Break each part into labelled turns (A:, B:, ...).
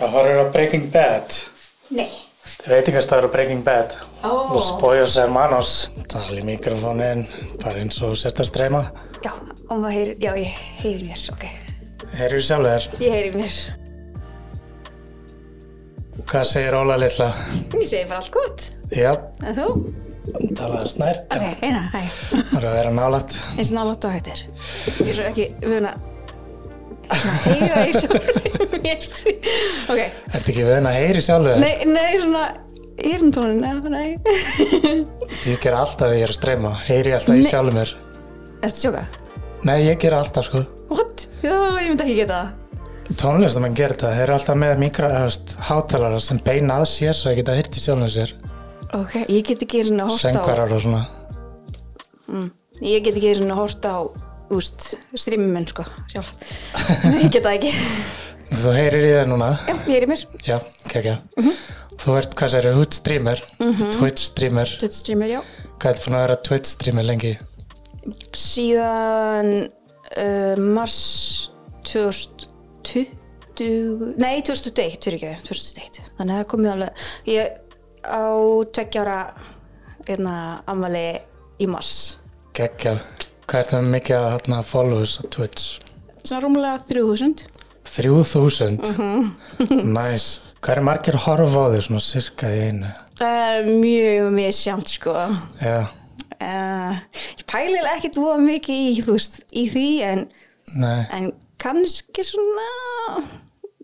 A: Það horfir á Breaking Bad.
B: Nei.
A: Veitingastafur á Breaking Bad.
B: Ó.
A: Los Pollos Hermanos. Tala í mikrofónin, bara eins og sérst að streyma.
B: Já, og maður heyrir, já, ég heyri mér, ok.
A: Heyrðu sjálf þér.
B: Ég heyri mér.
A: Hvað segir Óla litla?
B: Ég segi bara allt gott.
A: Já,
B: En þú?
A: talaði snær.
B: Ok, eina, hæ.
A: Það er að vera nálægt.
B: Eins og nálátt og hættir. Ég er svo ekki vun að hérna, heyra í sjálfum mér. Ok,
A: Ertu ekki vöðin að heyri sjálf þér?
B: nei, nei, svona, hirntónin, eða, nei.
A: Ég ger alltaf þegar ég er að streyma. Heyri alltaf í
B: Nei.
A: sjálfum mér.
B: Erstu sjóka?
A: Nei, ég ger alltaf sko.
B: What? Já, ég myndi ekki geta það.
A: Tónlistamenn gerir þetta. Þeir eru alltaf með mikra, hefst, hátalara sem beina að sér svo að geta heyrt í sjálfum sér.
B: Ok, ég get ekki hérna hort á...
A: Söngvarar og svona.
B: Ég get ekki svona hort á, úst, strýmumenn, sko, sjálf. Ég get það ekki.
A: Þú heyrir í það núna.
B: Já, ég er í mér.
A: Já, kekja. Þú ert, hvað sér, hút streamer, Twitch streamer.
B: Þetta strýmur, já.
A: Hvað ert búin að vera Twitch streamer lengi?
B: Síðan uh, mars 2020, nei 2021, fyrir ekki, 2021. Þannig að það komið alveg, ég á tveggjára einna ammali í mars.
A: Kekja. Hvað ert með mikið að hana, followers á Twitch?
B: Svona rúmlega 3000.
A: 3000? nice. Hvað er margir að horfa á þau svona cirka í einu?
B: Það er mjög misjant sko.
A: Já,
B: Uh, ég pælilega ekkert voða mikið í, þú veist, í því en,
A: nei.
B: en kannski svona...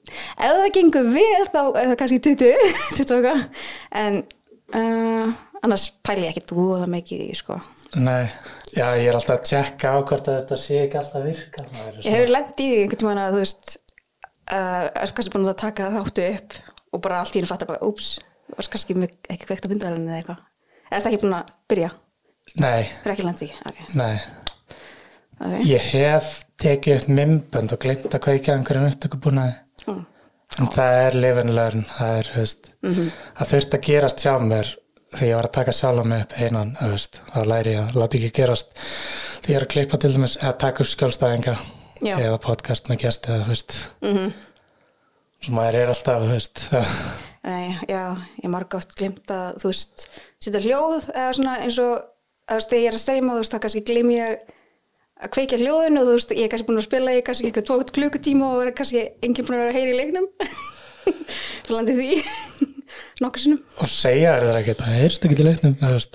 B: Ef það gengur vel þá er það kannski 20, 20 og eitthvað. En uh, annars pæli ég ekkert voða mikið í því sko.
A: Nei, já ég er alltaf að tjekka á hvort að þetta sé ekki alltaf virka maður.
B: Ég hefur lent í því einhvern tímann að þú veist, uh, er kannski búin að taka þáttu upp og bara allt í henni fattar bara, úps, varst kannski mjög- ekki kveikt á myndavælunni eða eitthvað. Eða það ekki búin að byrja,
A: Nei,
B: það er ekki lent í, því, ok.
A: nei,
B: okay.
A: ég hef tekið upp mymbönd og glemt að kveikja á einhverjum upptökubúnaði
B: Mm.
A: en það er live and learn það er, höfst, það þurfti að gerast hjá mér þegar ég var að taka sjálf mig upp einan, höfst, þá læri ég að láta ekki gerast þegar ég er að klippa til dæmis að taka upp skjálfstæðinga
B: Já.
A: eða podcast með gæst eða, höfst mm svo maður er alltaf, höfst
B: Nei, já, ég margátt glimt að, þú veist, setja hljóð eða svona eins og, þú veist, þegar ég er að streyma, þú veist, þá kannski glim ég að kveikja hljóðinu og þú veist, ég er kannski búin að spila, ég er kannski eitthvað tvo klukkutíma og er kannski enginn búin að vera að heyra í leiknum. Blandi því, nokkur sinnum.
A: og segja er það ekki, það heyrst ekki til leiknum, höfst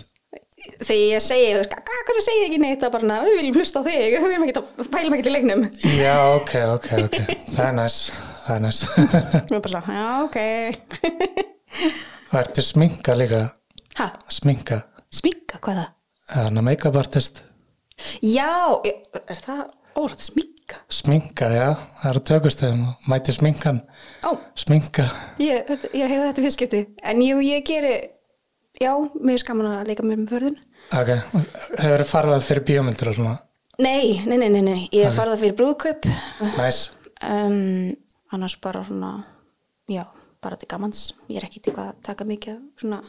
B: Þegar ég segi, þú veist, hvað, hvernig segi ég ekki neitt að bara, na, við viljum hlusta á þig, við viljum ekki að pælum ekki til leiknum.
A: já, ok, ok, ok það er næs, það er næs
B: Ég er bara svona, já,
A: og ertu sminka líka,
B: ok. ha,
A: sminka
B: sminka, hvað er það?
A: Þannig að make-up artist,
B: Já, ég- er það orð, sminka?
A: sminka, já, það eru tökustöðum og mæti sminkan,
B: Ó,
A: sminka,
B: Ég, þetta, ég er að heyra þetta fyrst skipti. En jú, ég geri, já, mér er skaman að leika mér með börðin.
A: ok, hefur farið það fyrir bíómyndir og svona,
B: Nei, nei, nei, nei, nei, ég er farið það fyrir brúðkaup.
A: næs,
B: Um, annars bara svona, já, bara til gamans. Ég er ekki til að taka mikið af svona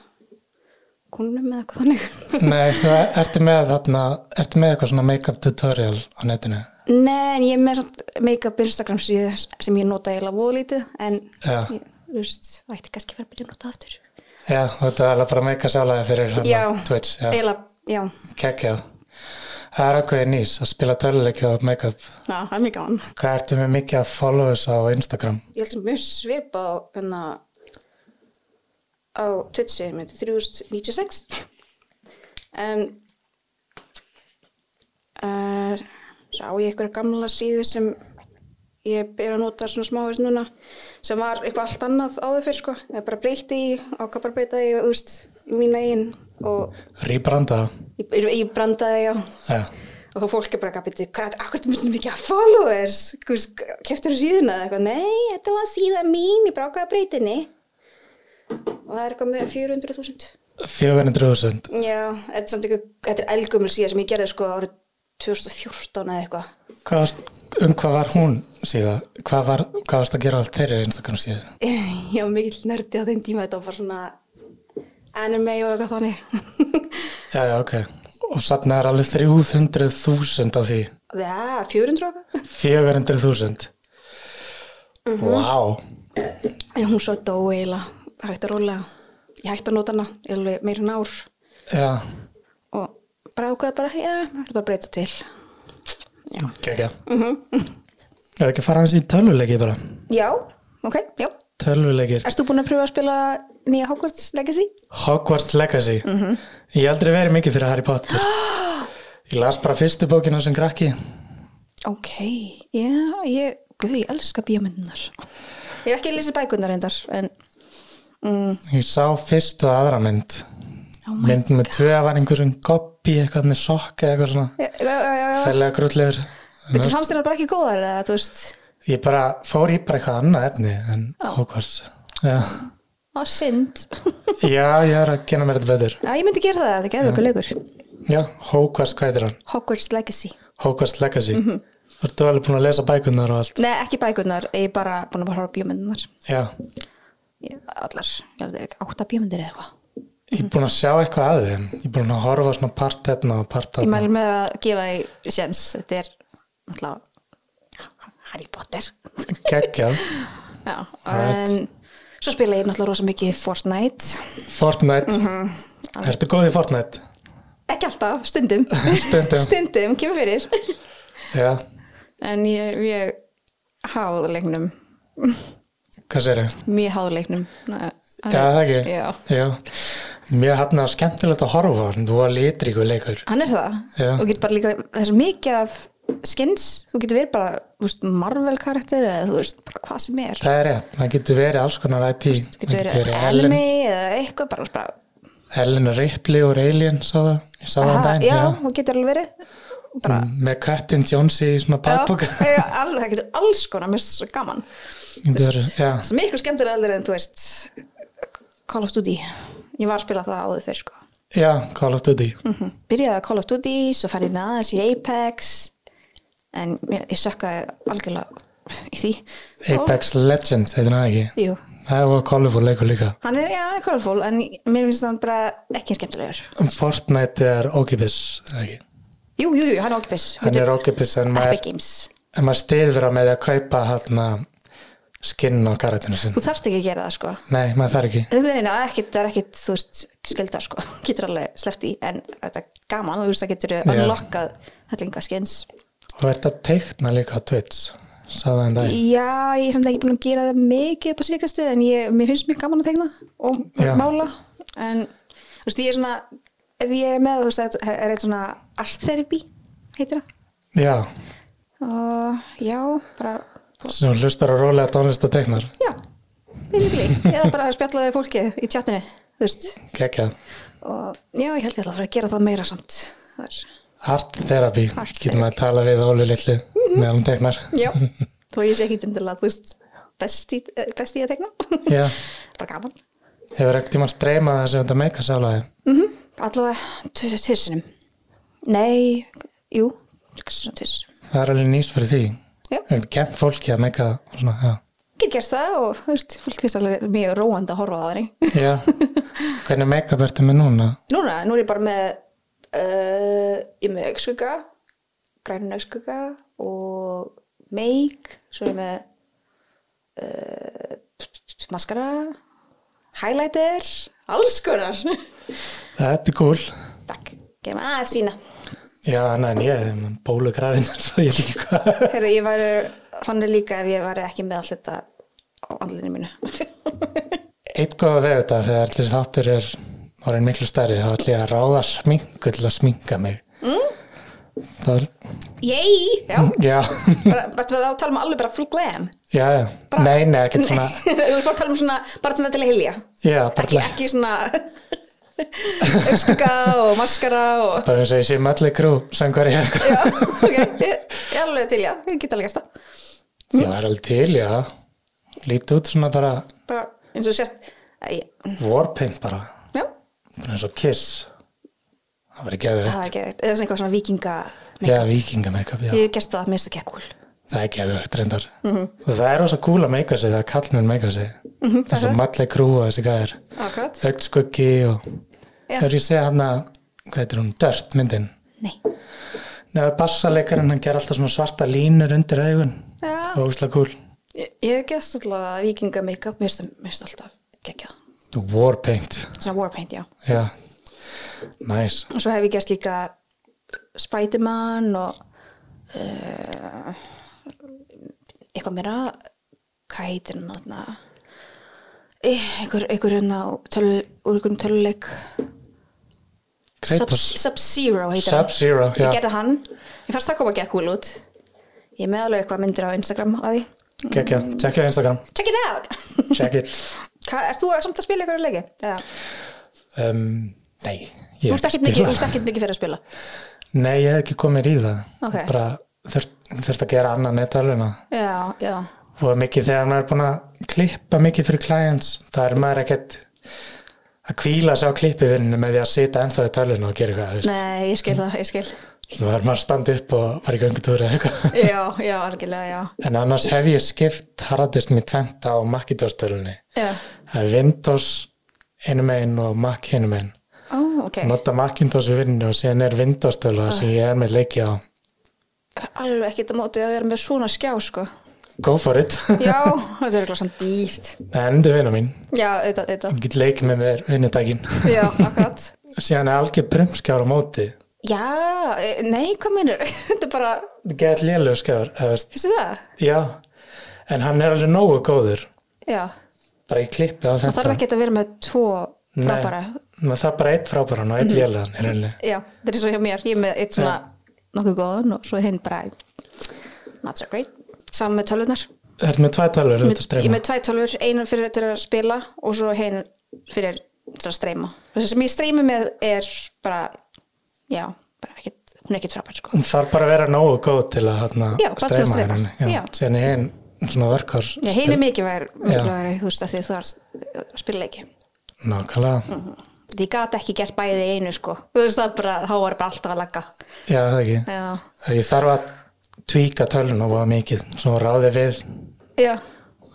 B: konum eða eitthvað þannig.
A: nei, þú ertu með þarna, ertu með eitthvað svona make-up tutorial á netinu,
B: nei, en ég er með samt make-up Instagram síðu sem ég nota eiginlega voðlítið, en
A: Já.
B: ég, þú veist, ætti kannski að vera að byrja að nota aftur.
A: já, þú ert alveg bara að make-a sjálfæði fyrir hana,
B: Já.
A: Twitch, já,
B: Eiginlega, já,
A: kekkja, það er okkur nýs að spila töluleikja og make-up,
B: já, það er mjög gaman.
A: hvað ertu með mikið að followers á Instagram,
B: ég held sem mjög svipa á hérna á Twitchi með 3096 en uh, sá ég einhverja gamla síðu sem ég er að nota svona smávist núna sem var eitthvað allt annað áður fyrr sko ég bara breyti í, ákvað bara breyta í úrst, í mína einn og
A: rýbranda,
B: ég, ég, ég brandaði já
A: já,
B: og þá fólk er bara að byrja, hvað, akkur ertu mjög mikið að followers, keftur þú síðuna eða eitthvað, nei, þetta var síða mín, ég brákaði breytinni og það er eitthvað með 400.000.
A: 400.000,
B: Já, þetta er samt ykkur, þetta er elgumur síða sem ég gerði sko árið 2014 eða eitthvað.
A: Hvað varst, um hvað var hún síðan? Hvað, var, hvað varst að gera allt þeirri Instagram síðan?
B: Ég var mikill nördi á þeim tíma, þetta var bara svona anime og eitthvað þannig.
A: Já, já, ok. Og satna er alveg 300.000 af því.
B: Já, 400 og eitthvað.
A: Mhm. 400.000. Vá.
B: en hún svo dó eiginlega hægt að rólega, ég hætti að nota hana ég alveg meira en ár
A: já,
B: og bara ákveða bara, já, ég ætla bara að breyta til já,
A: gegja Mhm. Er ekki að fara hans í tölvuleiki bara?
B: já ok, já
A: Tölvuleikir
B: Erst þú búin að pröfa að spila nýja Hogwarts Legacy?
A: Hogwarts Legacy Ég hef aldrei verið mikið fyrir Harry Potter Ég las bara fyrstu bókina sem krakki
B: Ok, já, ég, guð, ég elska bíómyndunar. Ég hef ekki lesið bækunar reyndar, en mm,
A: Ég sá fyrstu og aðra mynd
B: Oh my
A: Myndin með tvö var einhverjum koppi eitthvað með sokka eitthvað svona
B: já, já, já, já.
A: Fælega grútlegur
B: Þú fannst þér bara ekki góðar, eða, þú veist,
A: Ég bara fór í bara eitthvað annað efni en Hogwarts Já,
B: á synd.
A: já ég er að gera mér þetta betur
B: Já, ég myndi gera það, það er geðvöku leikur.
A: Já, Hogwarts, hvað heitir hann?
B: Hogwarts Legacy.
A: Hogwarts Legacy mm
B: Mhm.
A: Ertu alveg búin að lesa bækunar og allt?
B: Nei, ekki bækunar, ég er bara búin að bara horfa á bíómyndunar.
A: Já,
B: Ég- Allar, ég held að það er ekki átta bíómyndir eða eitthvað.
A: ég er búin að sjá eitthvað að þeim Ég er búin að horfa á svona part hérna og part
B: Ég
A: hérna
B: mæli með að gefa því sjens, þetta er, náttúrulega, Harry Potter.
A: Geggjað
B: Já,
A: Alright.
B: en svo spila ég náttúrulega rosa mikið Fortnite
A: Fortnite
B: Mhm.
A: Ertu góð í Fortnite?
B: ekki alltaf, stundum
A: Stundum.
B: stundum, kemur fyrir
A: Já,
B: en ég, ég háð leiknum
A: hvað sér ég?
B: mjög háð leiknum Nei,
A: Já, það ekki
B: Já.
A: Mér hann að skemmtilegt að horfa á hann Þú var litríku leikur
B: hann er það,
A: Já.
B: og getur bara líka þessu mikið af skins, þú getur verið bara þú veist, Marvel karakter eða þú veist bara hvað sem er,
A: Það er rétt, maður getur verið alls konar IP Maður
B: þú getur verið
A: Ellen,
B: anime eða eitthvað bara, bara
A: Ellen Ripley og Alien sá það, ég sá það um
B: Aha,
A: dæn
B: já, þú getur alveg verið
A: Mm, Með Captain Jones í svona pappbúk
B: já, já, alveg, það getur alls konar, mér finnst það svo gaman
A: Já,
B: Það er miklu skemmtilega allir en þú veist Call of Duty Ég var að spila það áður fyrr sko Mhm.
A: já, Call of Duty
B: Byrjaði að Call of Duty, svo færði ég með aðeins í Apex En ég, ég sökkaði algjörlega í því
A: Apex Legends, heitir hann ekki
B: Jú,
A: Það var kolorfúr leikur líka
B: hann er, já, hann er colorful En mér finnst hann bara ekki skemmtilegur
A: Fortnite er ókipis eða ekki?
B: Jú, jú, jú, hann er okkupis
A: Hann er ókipis en
B: Epic
A: maður,
B: Games
A: en maður styrður á með því að kaupa hann skinn á karatinu sinn
B: Þú þarft ekki að gera það sko
A: Nei, maður þarf ekki
B: Einhvern veginn, það er ekkit, það er ekkit, þú veist, skilda sko, getur alveg sleppt í, en þetta er gaman, þú veist, það getur unlockað hellinga skins.
A: Og ert að teikna líka á Twitch Sá það en dag
B: Já, ég er samt ekki búin að gera það mikið upp á síðkastu en ég, mér finnst mjög gaman að tegna og
A: Já.
B: mála en þú veist, ég er svona ef ég er með, þú veist, það er eitt svona art therapy, heitir það
A: Já,
B: og já, bara
A: sem hlustar að rólega tónlist og teiknar
B: já, basically, eða bara að spjalla við fólki í tjattinu, þú veist
A: Kekjað
B: og já, ég held ég ætla að fara að gera það meira samt það er,
A: Art therapy,
B: Art
A: getur maður að tala við Ólu litlu meðan hún teiknar
B: já, þó ég sé ekki endilega, þú veist best í, eh, best í að tegna
A: Já,
B: bara gaman,
A: hefur ekkert tímann streymað þessi þetta meika sálaði
B: Mhm. allavega tvissinum nei, jú svona tvissinum,
A: Það er alveg nýst fyrir því
B: já,
A: Ekkert kent fólki að meika svona, já
B: get gert það og þú veist, fólk finnst alveg mjög róandi að horfa á það þannig.
A: Já, hvernig make-up ertu með núna?
B: núna, nú er ég bara með uh, ég er með augskugga grænun augskugga og make svo er ég með uh, maskara highlighter, alls konar
A: Þetta er cool
B: takk, gerum aðeins sína
A: Já, nei, en ég er með bólugrafin svo ég veit ekki hvað
B: Heru, ég var þannig líka ef ég var ekki með allt þetta á andlinu mínu
A: Eitt góða veg þetta þegar allir þáttur er orðin miklu stærri þá ætlum ég að ráða sminku til að sminka mig mm? Það er,
B: Yay! Já,
A: já,
B: bara, bara, bara þá talum við alveg bara full glam
A: já, já Nei, nei, ekkert svona
B: Þú veist bara talum svona, bara svona til að hilja
A: Já, bara,
B: Ekki,
A: til að-
B: ekki svona Öskaka og maskara og
A: bara eins og ég sé melli grú söngari eða eitthvað
B: Já, ok, ég, ég alveg til, já, ég get alveg gert það
A: Ég var alveg til, já Lítið út svona bara
B: Bara eins og sért Æ,
A: warpaint bara
B: Já,
A: bara eins og kiss Það var ekki að
B: það er ekki Eða svona eitthvað svona vikinga
A: Já, vikinga make-up, já
B: Ég hef gert það, mér finnst það gekk cool
A: Það er geðvögt reyndar. Og það er rosa cool að meika sig þegar kallmenn meika sig. Mm -hmm, Þessi malli krú og þessi gæðir.
B: Akkurat
A: Ögt skuggi og...
B: Já.
A: Þegar ég segja hann að, hvað heitir hún, dört myndin.
B: Nei
A: Nei, bassalekarinn, hann ger alltaf svona svarta línur undir augun.
B: Já,
A: Og úsla cool.
B: Ég, ég hef gæst alltaf vikinga make-up, mér finnst það- mér finnst það alltaf geggjað.
A: Warpaint,
B: Svona warpaint, já.
A: já Næs,
B: Og svo hef ég gæst líka Spiderman og uh, eitthvað meira kætun og þarna Eh, einhver, einhver hérna úr töl- úr einhverjum töluleik Sub-
A: Kratos
B: Sub-Zero heitir hann.
A: Sub-Zero, já
B: Ég gerði hann, ég fannst það koma ekki að kúl út Ég er með alveg eitthvað myndir á Instagram á því
A: Kekja, tjekkja á Instagram,
B: Check it out!
A: check it
B: Hva, ert þú samt að spila ykkur leiki? Eða,
A: um, Nei, ég
B: þú
A: hef
B: ert
A: ekki
B: ekkert mikið, þú
A: spilað
B: ert ekkert mikið fyrir að spila
A: Nei, ég hef ekki komið í það
B: Ok.
A: Bara þurft, þurft að gera annað netaluna
B: Já, já,
A: og mikið þegar maður er búin að klippa mikið fyrir clients, það er maður ekkert að kvíla sig á klippivinnu með því að sita ennþá í tölun og gera eitthvað, þú veist.
B: nei, ég skil það, ég skil
A: Svo verður maður að standa upp og fara í göngutúri eða eitthvað.
B: Já, já, algjörlega, já
A: En annars hef ég skipt harðist mér tvent á Macintosh tölunni.
B: Já,
A: Það er Windows hinum einn og Mac hinum einn.
B: ó, ok
A: Nota Macintosh í vinnu og síðan er Windows tölva sem ég er með leikið á.
B: Það er alveg ekkert að móti að vera með svona skjá, sko
A: Go for it.
B: Já, þetta er eitthvað samt dýrt
A: Það er endur vinnu mín.
B: Já, auðvitað, auðvitað
A: Ég get leikið með mér vinnutækin.
B: Já, akkurat
A: Síðan er algjör brumskjár á móti.
B: Já, e, nei, hvað meinur? þetta er bara,
A: Gæt lélug skjár, eða veist.
B: finnst það?
A: Já, en hann er alveg nógu góður
B: Já,
A: bara í klippi á
B: það þarf
A: þetta
B: ekki að vera með tvo
A: Nei.
B: frábæra Mhm.
A: Maður þarf bara eitt frábæran og eitt lélegan í rauninni.
B: Já, það er svo hjá mér, ég er með eitt svona nokkuð góðan og svo hinn bara not so great, saman með tölvunar
A: Það er með tvæ talur þetta
B: ég er
A: streyma
B: með tvæ tölvur, einu fyrir til að spila og svo hinn fyrir til að streyma það sem ég streymi með er bara já, bara ekkit, hún er ekkit frábær sko.
A: Hún þarf bara að vera nógu góð til að hana,
B: Já, bara til að
A: streyma í
B: streyma.
A: rauninni.
B: Já.
A: Já. Síðan er hinn svona verkar
B: já, hinn er mikilvægur mikilvægur, þú veist að því þú þarf að spila ekki
A: Nákvæmlega,
B: Mm. því ég gat ekki gert bæði í einu sko þú veist það bara, þá var bara alltaf að lagga
A: já það ekki
B: já,
A: Ég þarf að tvíka tölun og vaða mikið svo hún ráði við
B: já,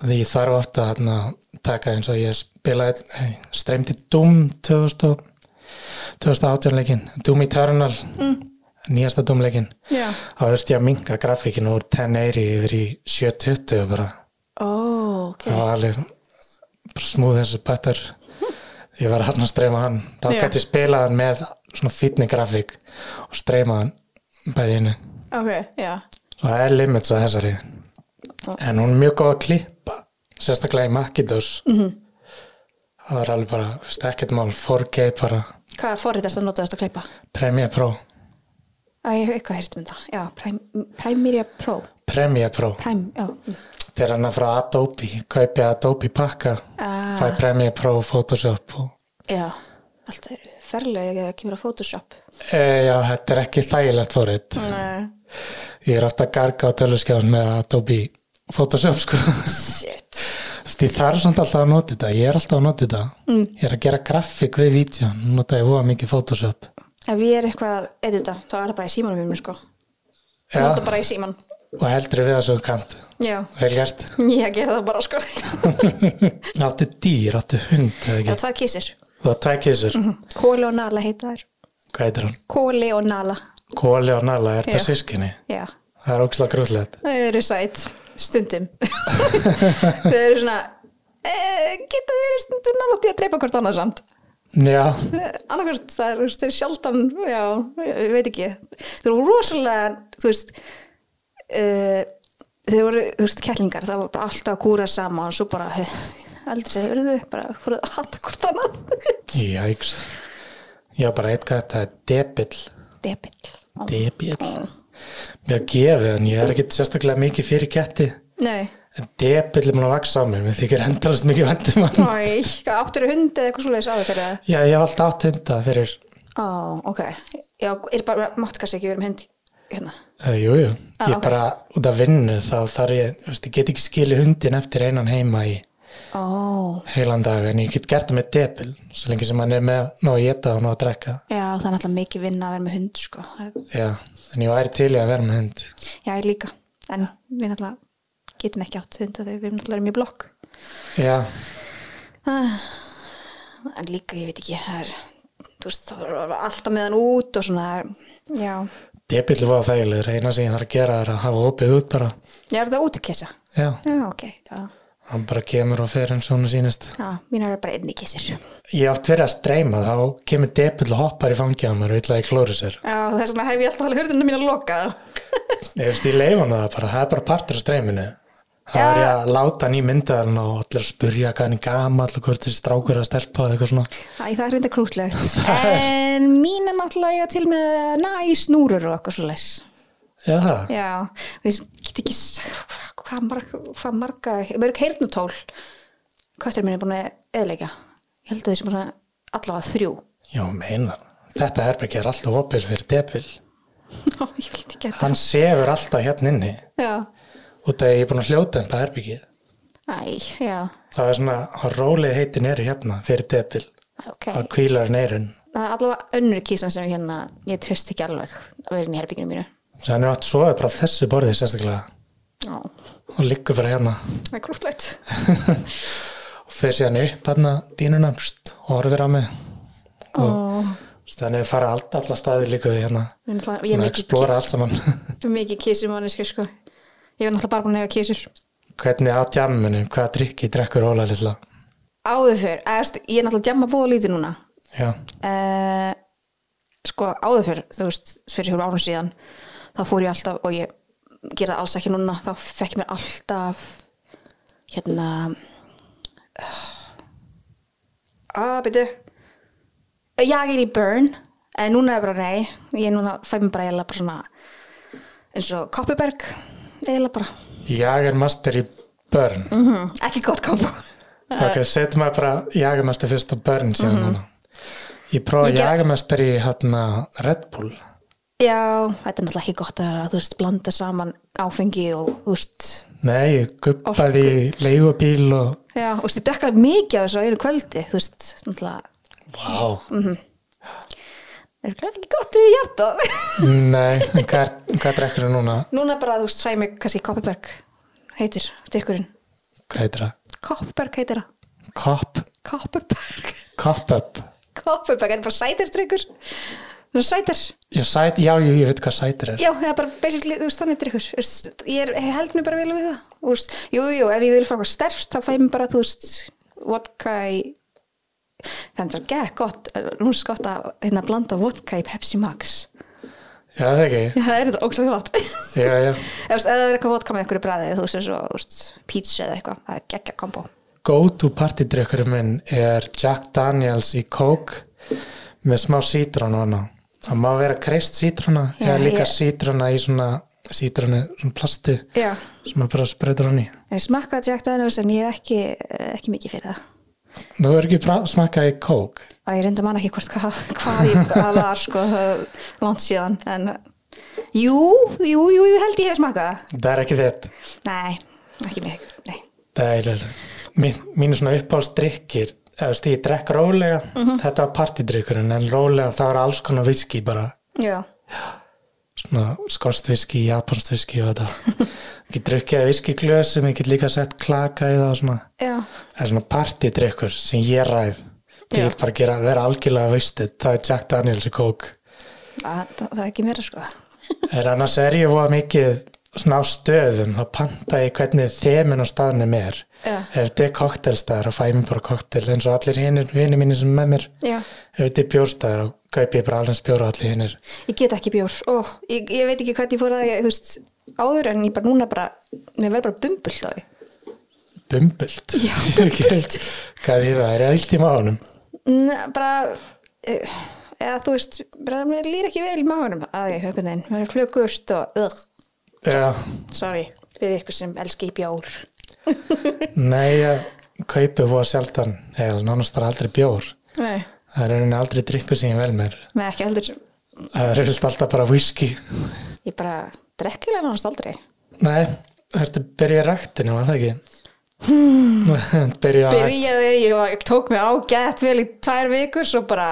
A: því ég þarf ofta að hérna, taka eins og ég spilaði nei, streymdi Doom 2000 og- 2018 leikin Doom Eternal nýjasta Doom leikin
B: já.
A: þá þurfti ég að minka grafíkinu úr 1080 yfir í 720 bara,
B: Ó, ok
A: það var alveg bara smúð eins og betur ég var hann að streyma hann þá
B: Já.
A: gæti ég spilað hann með svona fítni grafík og streyma hann bæði innu
B: ok, já
A: og það er limits á þessari en hún er mjög góð að klippa sérstaklega í Macintosh -hmm. það var alveg bara veist, ekkert mál 4K bara
B: Hvað forrið erst að nota þetta að klippa?
A: Premiere Pro
B: Æ, ég hef eitthvað heyrst um þetta. Já, Prime, Primeira Pro.
A: Premiere Pro
B: Prime, já. mm.
A: þetta er hann frá Adobe kaupi Adobe pakka
B: Ah.
A: fæ Premiere Pro Photoshop og
B: Já, allt er ferlega ekki að kemur að Photoshop.
A: e, já, þetta er ekki þægilegt fórið
B: Nei.
A: ég er ofta að garga á töluskjáðan með Adobe Photoshop sko
B: Shit.
A: Þess, ég þarf samt alltaf að nota þetta, ég er alltaf að nota þetta mm. ég er að gera grafík við vítján nota ég hóa mikið Photoshop
B: Ef ég er eitthvað að edita, þá er það bara í símanum minn, sko.
A: Já.
B: Nota bara í síman.
A: og heldur við það svo þú kant
B: Já.
A: vel gert
B: Ég gera það bara, sko. Já,
A: áttu dýr, áttu hund eða ekki
B: tvær kísir.
A: þú átt tvær kísur,
B: Mhm. Kóli og Nala heita þær.
A: hvað heitir hún?
B: Kóli og Nala.
A: Kóli og Nala, er
B: Já.
A: þetta sískinni?
B: Já.
A: það er ókslega grúðlegt
B: Þau eru sætt. Stundum. Þau eru svona, eh, geta verið stundum nála til að dreipa hvort annað samt.
A: já,
B: annarkvæmst það er, þú veist, þeir sjaldan já, ég veit ekki þeir voru rosalega, þú veist uh, þeir voru þú veist, kettlingar, það var bara alltaf að kúra sama og svo bara aldrei segir urðu, bara fóruð að hata hvort annað
A: jæks já, bara eitthvað þetta er debill
B: debill
A: debill mér að gefa en ég er ekkit sérstaklega mikið fyrir ketti
B: nei,
A: en debill er búin að vaksa á mig mér þykir endalast mikið vendum hann
B: Æ, hvað, áttur hund eða eitthvað svoleiðis á þetta
A: já, ég hef alltaf átt hunda fyrir
B: á, ok já, er bara, máttu kannski ekki vera með hund hérna,
A: Eh, Jú, jú,
B: Ah,
A: ég
B: ok.
A: bara út af vinnu þá þarf ég, þú veist, ég get ekki skilið hundin eftir einan heima í
B: ó,
A: heilan dag en ég get gert það með debil svo lengi sem hann er með ná að geta og ná að drekka
B: já, það er náttúrulega mikið vinna að vera með hund, sko Það er-
A: já, en ég væri til í að vera með hund
B: já, ég líka, en við náttúrulega getum ekki átt hund, þegar við náttúrulega erum í blokk
A: já,
B: Ah. en líka ég veit ekki það er, þú veist, það var alltaf með hann út og svona, já,
A: debill var þægilegur, eina sem ég þarf að gera er að hafa opið út bara,
B: Ég er þetta út að kissa.
A: já,
B: Já, ok. Já,
A: hann bara kemur og fer eins og hún sýnist.
B: já mínar er bara einni kissir.
A: Ég átt verið að streyma, þá kemur debill og hoppar í fangið á mér og illa í klóri sér.
B: Já, þess vegna hef ég alltaf alveg hurðinu mín að loka.
A: Ég veist, ég leif hann það bara, það er bara partur af streyminu. Það
B: Já.
A: er ég að láta hann í myndaðarinn og allir að spurja hvað hann er gamall og hvort þessi strákur er að stelpa og eitthvað svona.
B: Æ, það er reynda krútlegt. En mín er náttúrulega eiga til með næ snúrur og eitthvað svo les.
A: Já, það.
B: Já, og ég get ekki sagt hva- hvað marga, hvað marga, mörg heyrnutól köttur minn er búin að eðleika. Ég held að þessi bara allavega þrjú.
A: Já, meina. Þetta herbergi er alltaf opið fyrir debill.
B: Ó, ég held ekki að
A: Hann sefur alltaf hérna inni
B: Já,
A: út af að ég er búin að hljóta um það herbyggið.
B: æ, já,
A: Það er svona að rólið heitin eru hérna fyrir debil
B: ok.
A: að kvílar neyrun.
B: Það er allavega önnur kísan sem hérna, ég tröst ekki alveg að vera inn í herbygginu mínu.
A: Þannig hann er átt sofa bara á þessu borðið sérstaklega
B: Já,
A: og liggur bara hérna
B: það er krútlegt.
A: og fer síðan upp hérna dýnuna pst, og horfir á mig.
B: Ó,
A: Þannig að fara allt, alla staði líka við hérna.
B: ég náttúrulega-
A: Þannig
B: ég er
A: að
B: mikið,
A: explora allt saman.
B: mikið kísum manneski, sko. Ég er náttúrulega bara búin að eiga kísur.
A: Hvernig á tjamminu, hvaða drikki drekkur Óla lilla.
B: Áður fyrr, eða, þú veist, ég er náttúrulega djamma búið lítið núna.
A: Já,
B: Eh, sko áður fyrr þú veist, fyrir hjá árum síðan þá fór ég alltaf og ég gera það alls ekki núna, þá fekk ég mér alltaf hérna eh, að byrju Eh, ég er í burn en núna er bara nei, ég er núna fæ mér bara eiginlega bara svona eins og koppiberg, eiginlega bara
A: ég er master í börn.
B: mm ekki gott kombo Eh,
A: Ok, setjum maður bara jagamestar fyrst á börn síðan mm Ég prófa
B: Mhm. Ég ger-
A: jagamestar í hérna Red Bull.
B: já, þetta er náttúrulega ekki gott að vera, þú veist, blanda saman áfengi og þú veist
A: Nei, ég guppaði í leigubíl og
B: Já, og þú veist, ég drekka mikið af þessu á einu kvöldi, þú veist, náttúrulega,
A: Vá.
B: er glæðið ekki gott við hjartað.
A: Nei, en hvað, hvað drekkur þú núna?
B: Núna bara, þú veist, sæði mig, kannski, Koppiberg heitir, drikkurinn.
A: Hvað heitir það?
B: Koppiberg heitir það.
A: Cop,
B: Koppiberg.
A: cop up.
B: Koppiberg, þetta er bara sætir drikkur. Þú veist, sætir.
A: Ég sæt, já, jú, ég veit hvað sætir er.
B: Já, það er bara, basically, þú veist, þannig drikkur. Þú veist, Ég er, ég held mér bara vel við það. Þú veist, jú, jú, ef ég vil fá eitthvað sterft, þá fæ ég mér bara, þú veist, vodka í... Þannig að gekk gott, nú er skott að hérna, blanda vodka í Pepsi Max.
A: Já, það ekki.
B: Já, það er þetta ógstlega gott.
A: Já, já.
B: Ef það er eitthvað vodka með einhverju bræði, þú veist, eins og þú veist, pizza eða eitthvað, það er geggja kombo.
A: Go to party drikkurinn minn er Jack Daniels í Coke með smá sítrónu hana. Það má vera kreist sítróna
B: Já,
A: eða líka
B: ég-
A: sítróna í svona sítrónu, svona plasti.
B: Já.
A: sem maður bara spreytur hann í
B: Ég smakkaði Jack Daniels en ég er ekki, ekki mikið fyrir það.
A: þú er ekki pra- smakkað í kók
B: Og ég reynda manna ekki hvort hvað, hvað ég, það var, sko, það er langt síðan. En jú, jú, jú, ég held ég hef smakkað það.
A: það er ekki þitt
B: Nei, ekki mikið, nei.
A: það er mín, mínu svona uppáhaldsdrykkir eða veist, ég drekk rólega
B: Mhm.
A: þetta var partydrykkurinn en rólega það var alls konar viski bara
B: Já,
A: svona skorst viski, japanst viski og þetta ekki drukkið viski glösum, ég get líka sett klaka í það og svona
B: já,
A: það er svona partydrykkur sem ég ræð ég
B: Já.
A: get bara að gera, vera algjörlega veistið það er Jack Daniels í kók
B: það, það, það er ekki meira, sko.
A: Er annars er ég voða mikið svona á stöðum, þá panta ég hvernig þemin á staðnum er.
B: Já.
A: Ef þetta er koktelstaðar, þá fæ ég mér bara koktel eins og allir hinnir, vinir mínir sem er með mér.
B: Já.
A: Ef þetta er bjórstaðar, þá kaup ég bara alveg bjóra allir hinnir.
B: Ég get ekki bjór, ó, ég, ég veit ekki hvernig ég fór að, ég, þú veist, áður en ég bara núna bara, mér verður bara bumbult á því.
A: Bumbult.
B: Já,
A: Ég veit Hvað því það er allt í mánum?
B: Nei, bara eh, eða þú veist, bara mér lír ekki vel í maganum að ég höfum þeim, mér er klökust og ugh,
A: Já,
B: sorry fyrir ykkur sem elski bjór
A: nei, ég kaupi voða sjaldan, eða nánast bara aldrei bjór.
B: Nei,
A: Það er rauninni aldrei drikku sem ég vel mér.
B: með ekki heldur
A: Það er vilt alltaf bara whisky.
B: ég bara drekkilega náttúrulega aldrei
A: Nei, ertu byrjað ræktinu, var það ekki? Hmm. byrjað að
B: Byrjaði ég og tók mig á gett vel í tvær vikur svo bara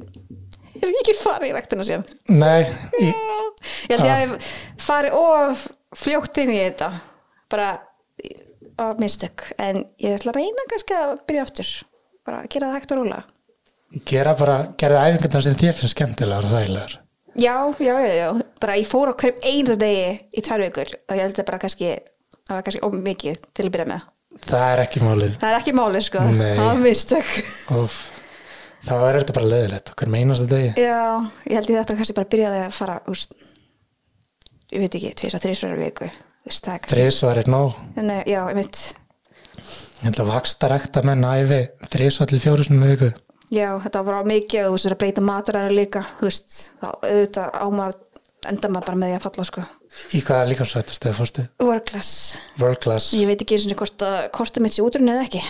B: hef ég ekki farið í rektina síðan
A: Nei, í,
B: Ég held ég að ég farið of fljótt inn í þetta bara á mistök en ég ætla að reyna kannski að byrja aftur bara að gera það hægt og rólega
A: gera bara, gera æfingarnar sem þér finnst skemmtilegar og þægilegar.
B: Já, já, já, já, bara ég fór á hverjum einasta degi í tvær vikur og ég held að bara kannski, það var kannski ómikið til að byrja með.
A: það er ekki málið
B: Það er ekki málið sko,
A: Nei.
B: það var mistök.
A: Úf, þá er þetta bara leðilegt okkur meinas þetta degi
B: Já, ég held ég þetta kannski bara byrjaði að fara, úst, ég veit ekki, tvís og þrísverðar viku, úst, það er kannski.
A: þrísvar er nóg
B: En, eh, já, ég mitt,
A: ég held að vaksta rekta menn æfi þrísvar til fjóru sinni í viku
B: já, þetta var bara mikið og þú veist, það er að breyta mataræðar líka, þú veist, þá auðvitað ámar, enda maður bara með því að falla sko.
A: í hvaða líkansvættastöðu fórstu?
B: Workglass.
A: World class
B: Ég veit ekki eins og hvort að hvort að mitt sé útrunni eða ekki.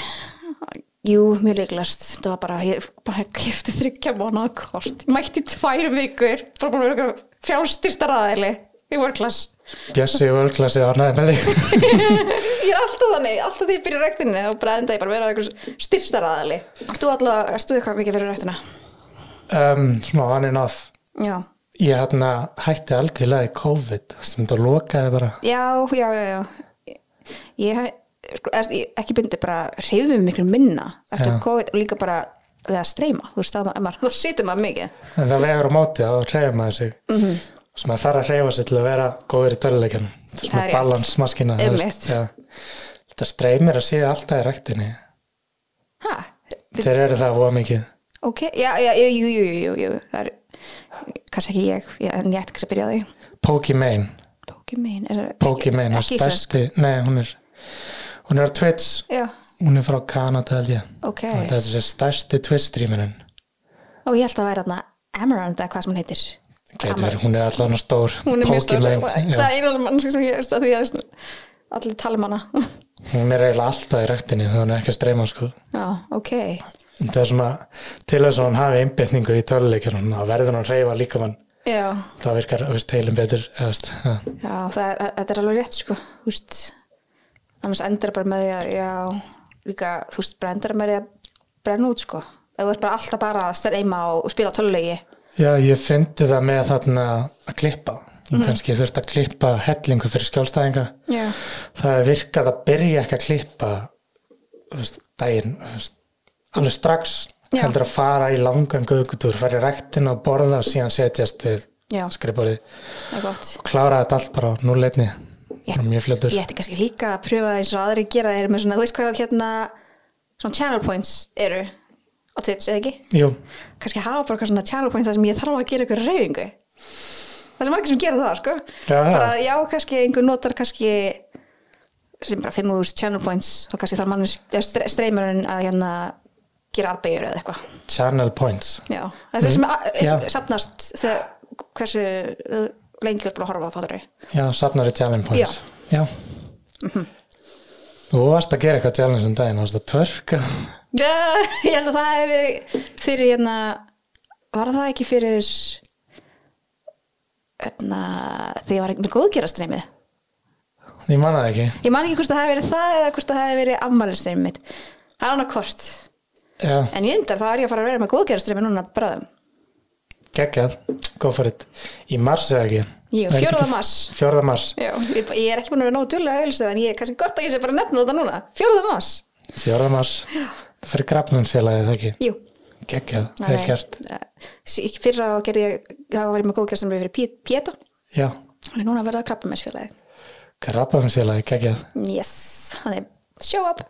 B: Jú, mjög leiklast. Þetta var bara, ég bara kefti þryggja mánuða kort. Ég mætti í tvær vikur, bara búin að vera fjárstyrsta raðæli í workclass.
A: Bjössi í World class eða annaði með þig
B: Ég er alltaf þannig, alltaf því ég byrja rektinni og bara enda ég bara að vera einhver styrsta raðæli. Ertu alltaf, ertu eitthvað mikið fyrir rektina?
A: um, svona on and off
B: Já.
A: ég hérna hætti algjörlega í COVID sem þetta lokaði bara
B: Já, já, já, já. Ég hef, sko, eða, ég- ekki bindi bara hreyfum miklu minna eftir
A: Já.
B: COVID og líka bara við að streyma, þú veist, það maður, þú situr maður mikið.
A: en það vegur á móti þá hreyfa maður sig mm
B: Mhm.
A: -hmm. sem maður þarf að hreyfa sig til að vera góður í töluleikjum
B: Það er
A: svona
B: rétt.
A: balansmaskina þú veist,
B: Einmitt.
A: já. þetta streymir að séu alltaf í ræktinni
B: Hæ?
A: þeir eru það voða mikið
B: Ok, já, já, jú, jú, jú, jú, jú. það er, kannski ekki ég, já, en ég ætti kannski að byrja á því.
A: Pokimane
B: Pokémon, er það
A: Pokimane er
B: ekki íslensk?
A: stærsti nei, hún er hún er á Twitch
B: Já,
A: hún er frá Kanada held ég
B: ok,
A: og þetta er þessi stærsti Twitch streamerinn
B: og ég held að það væri þarna Amaranth eða hvað sem hún heitir.
A: Gæti verið, hún er allan stór
B: Hún er mjög stór,
A: Pokimane, já.
B: það er einalega mannski sem ég veist að því að svona, allir tala um hana.
A: hún er eiginlega alltaf í ræktinni þegar hún er ekki að streyma sko.
B: Já, ok,
A: það er svona til þess að hún hafi einbytningu í töluleikjum þá verður hún að hreyfa líka mann
B: já,
A: þá virkar þú veist, heilin betur eða, veist, ja.
B: já, það er, þetta er alveg rétt, sko, þú veist, annars endar bara með því að, já, líka, þú veist, bara endar með því að brenna út, sko, ef þú ert bara alltaf bara að stærma og og spila tölulegi.
A: já, ég fyndi það með þarna að klippa ég
B: Mhm.
A: kannski þurfti að klippa hellingu fyrir skjálstæðinga
B: Já.
A: það er virkað að byrja ekki að klippa þú veist, daginn þú veist, alveg strax
B: Já.
A: heldur að fara í langan gögutúr fara í rektina og borða og síðan setjast við
B: Já. sko,
A: skrifborðið
B: Það er gott.
A: klára þetta allt bara á núleitni
B: Ég-
A: mjög fljótur
B: Ég ætti kannski líka að pröfa það eins og aðri gera þeir með svona, þú veist hvað hérna svona channel points eru á Twitch, eða ekki?
A: Jú,
B: Kannski hafa bara eitthvað svona channel points þar sem ég þarf að gera ykkur reyfingu. Það sem margir sem gera það, sko.
A: Já, já.
B: bara, já, kannski einhver notar kannski sem bara 5.000 channel points þá kannski þarf mann streymurinn að hérna gera arbegjur eða eitthvað.
A: channel points
B: Já, það er sem
A: Mm. já.
B: að- safnast þegar hversu uh, lengi er búin að horfa að fattur þau.
A: Já, safnar í challenge points Já, Þú varst að gera eitthvað challenge um daginn, varst að tvörka
B: Já, ég held að það hefur verið fyrir hérna var það ekki fyrir hérna þegar ég var með góðgerastreymið
A: Ég man það ekki
B: ég man ekki hvort það hefur verið það eða hvort það hefur verið afmælistreymið mitt það er hann að hvort
A: Já,
B: en ég endar þá er ég að fara að vera með góðgerastreymið núna bráðum
A: geggjað, go for it Í mars eða ekki
B: Jú,
A: Er þetta ekki
B: 4. mars.
A: Fjórða mars,
B: Já, ég, ég er ekki búin að vera nógu djúlega að auðvitað en ég er kannski gott að ég sé bara að nefna þetta núna fjóruða mars
A: fjórða mars Það fyrir grafnumfélagið það ekki
B: Jú,
A: Geggjað,
B: það
A: vel
B: er-
A: gert
B: Eh, sí- fyrra gerði ég, ég hafa verið með góðgerastreymið fyrir Pí- Pétur
A: Já,
B: hann er núna að vera að krabba með sjölaði
A: grafnumfélagið, geggjað
B: Yes, hann er show up.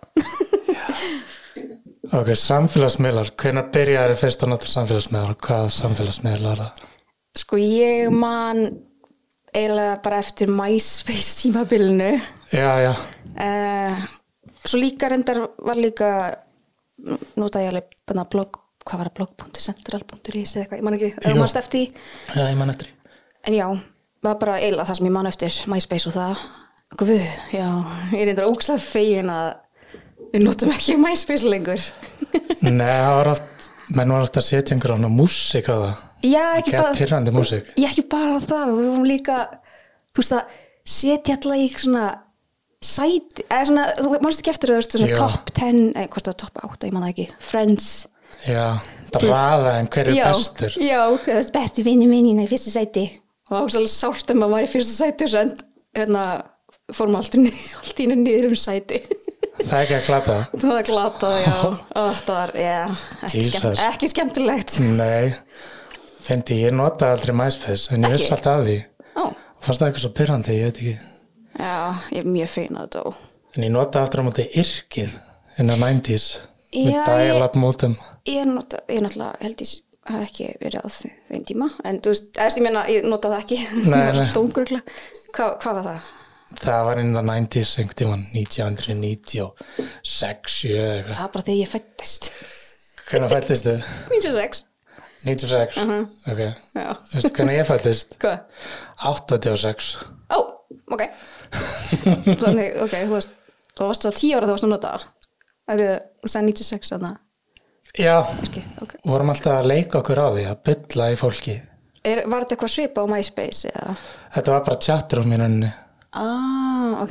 A: Ok, samfélagsmiðlar, hvenær byrjaði fyrst að nota samfélagsmiðlar og hvað samfélagsmiðlar var það?
B: sko ég man eiginlega bara eftir MySpace tímabilinu.
A: Já, já,
B: Uh, svo líka reyndar var líka, notaði ég alveg bara blog, hvað var það, blog.central.is eða eitthvað, ég man ekki,
A: Jú.
B: eða mannst eftir því.
A: já, ég man eftir því.
B: En já, var bara eiginlega það sem ég man eftir, MySpace og það. Guð, já, ég er reyndar ógslag fegin að við notum ekki MySpace lengur.
A: Nei, það var oft, menn var oft að setja einhverja svona músík á það.
B: já, ekki
A: Gæð
B: bara...
A: pyrrandi músík.
B: ég ekki bara það, við vorum líka þú veist að setja alltaf í svona sæti, eða svona, þú mannst ekki eftir þú veist,
A: Já.
B: svona top 10, eða hvort það var top 8 ég man það ekki, friends
A: Já, draða en hver er
B: já,
A: bestur.
B: já, þú veist, besti vinni minni í fyrsta sæti og það var svolítið sárt en maður var í fyrsta sæti og svo en, hérna, fórum allt, í- allt í einu niður um sæti
A: Það er ekki að klata.
B: það var glatað, já og það var, já, ekki,
A: Jesus.
B: skemmt, ekki skemmtilegt
A: Nei, Fyndi, ég notaði aldrei MySpace en ég
B: Ekki?
A: vissi alltaf af því
B: Ó,
A: og fannst það eitthvað svo pyrrandi, ég veit ekki
B: já, ég er mjög fein að þetta og
A: En ég notaði aftur á móti yrkið innan 90s með
B: Já, ég-
A: dial-up mótum
B: ég, nota, ég náttúrulega held ég hef ekki verið á þe- þeim tíma en þú veist, eða ég meina, ég nota það ekki
A: Nei, nei.
B: stóngrugla Hva, hvað var það?
A: Það var innan 90s einhvern tímann 1996 sjö, eitthvað.
B: það var bara þegar ég fættist
A: Hvenær fættist þau?
B: 96
A: 96?
B: Mhm.
A: Ok,
B: já,
A: veistu hvernig ég fættist?
B: hvað?
A: 86
B: ó, ok þannig, ok, þú veist þú varst á 10 ára þú varst að nota það þegar þú sagði 96 þannig
A: Já,
B: okay, ok.
A: vorum alltaf að leika okkur á því að bylla í fólki
B: Er, var þetta eitthvað svipa á MySpace eða?
A: Þetta var bara um tjattur á mínunni
B: ah, ok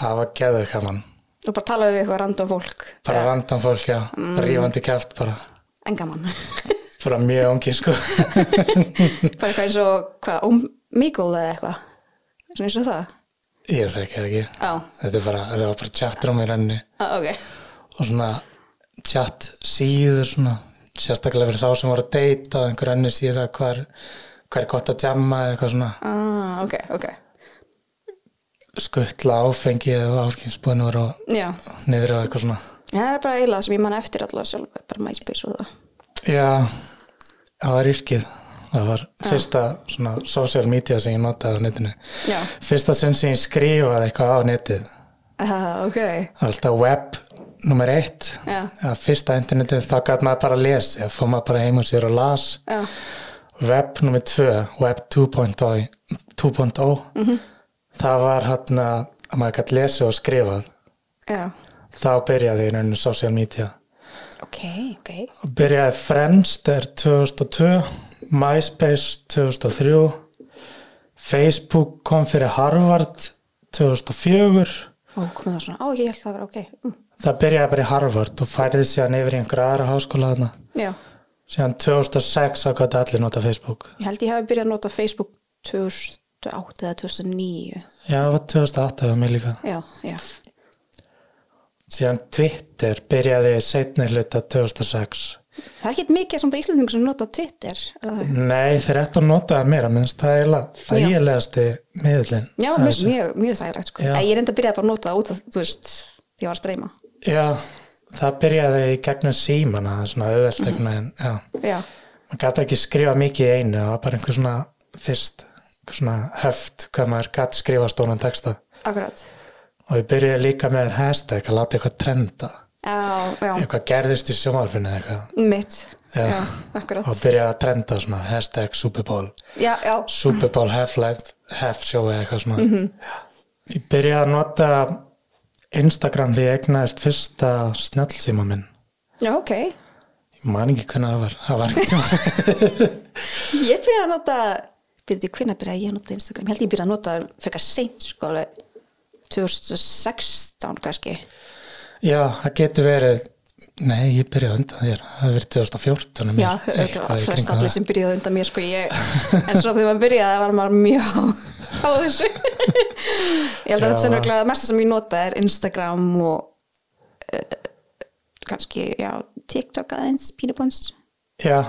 A: Það var geðuð kaman
B: þú bara talaði við eitthvað random fólk
A: Bara random fólk, já, rífandi kæft bara
B: en gaman
A: Bara mjög ungi, sko
B: bara eitthvað eins og hvað, Omegle eða eitthvað svona eins og það
A: Ég þekki það ekki
B: já,
A: Þetta, er bara, þetta var bara tjattur á mínunni
B: ah, ok
A: Og svona tjatt síður svona Sérstaklega fyrir þá sem voru að deyta og einhver enni síða hvar, hver gott að djamma eða eitthvað svona
B: ah, ok, ok
A: skuttla áfengi eða áfenginsbúinur og
B: já,
A: niður og eitthvað svona
B: það er bara eiginlega sem ég man eftir allavega sjálf bara MySpace og það
A: Já, það var yrkið. Það var fyrsta svona social media sem ég notaði á netinu.
B: já,
A: Fyrsta sinn sem ég skrifaði eitthvað á netið.
B: ah, ok
A: Það var alltaf web nummer eitt.
B: Já.
A: Það fyrsta internetið, þá gæti maður bara að lesa. Fór maður bara heim og sér og las.
B: já,
A: Web nummer tvö, web oh, 2.0, 2.0. oh. það var hann að maður gæti lesið og skrifað.
B: já
A: Þá byrjaði ég rauninu social media.
B: ok, ok
A: og byrjaði Friendster 2002 MySpace 2003 Facebook kom fyrir Harvard 2004
B: ó, komið það svona, ó, ég held það var ok mm.
A: það byrjaði bara í Harvard og færði síðan yfir í einhverja aðra háskóla þarna
B: já,
A: síðan 2006 ákvæði allir nota Facebook
B: ég held ég hafi byrjað að nota Facebook 2008 eða 2009
A: já, það var 2008 eða mig líka
B: já, já,
A: síðan Twitter byrjaði setni hluta 2006
B: það er ekkert mikið sem bara Íslandingur sem nota Twitter eða-
A: nei, þeir ættu að nota það meira minnst það er eiginlega þægilegasti miðlinn
B: Já, mjög, mjög, mjög þægilegt sko.
A: Já.
B: En Ég reyndi að byrja bara að nota það út að, þú veist, ég var að streyma.
A: Já, það byrjaði í gegnum símana, það er svona auðvelt einhvern veginn, já.
B: Já,
A: Man gæti ekki skrifa mikið í einu, það var bara einhver svona fyrst, einhver svona höft hvað maður gæti skrifa stónan texta.
B: akkurat.
A: Og ég byrjaði líka með hashtag að láta eitthvað trenda,
B: Já, já,
A: eitthvað gerðist í sjónvarfinu eða eitthvað.
B: mitt.
A: Já.
B: Já, akkurat.
A: Og byrjaði að trenda svona hashtag Super Bowl,
B: Já, já,
A: Super Bowl half-life, half-show eða eitthvað svona. Ég byrjaði að nota Instagram því ég egnaðist fyrsta snjallsíma minn.
B: já, ok.
A: Ég man ekki hvernig það var, það var einhvern tímann.
B: Ég byrjaði að nota, byrjaði, hvenær byrjaði ég að nota Instagram? Ég held ég byrjaði að nota frekar seint sko, alveg 2016 kannski.
A: Já, það getur verið Nei, ég byrjaði undan þér Það hefur verið 2014 um
B: Já,
A: mér,
B: örugglega
A: í
B: flest
A: kringum
B: allir
A: það.
B: sem byrjaði undan mér sko, ég, en svo þegar maður byrjaði var maður mjög á, á þessu. ég held að
A: Já.
B: þetta sem örugglega það mesta sem ég nota er Instagram og uh, kannski, já, TikTok aðeins, Pínabons,
A: Já,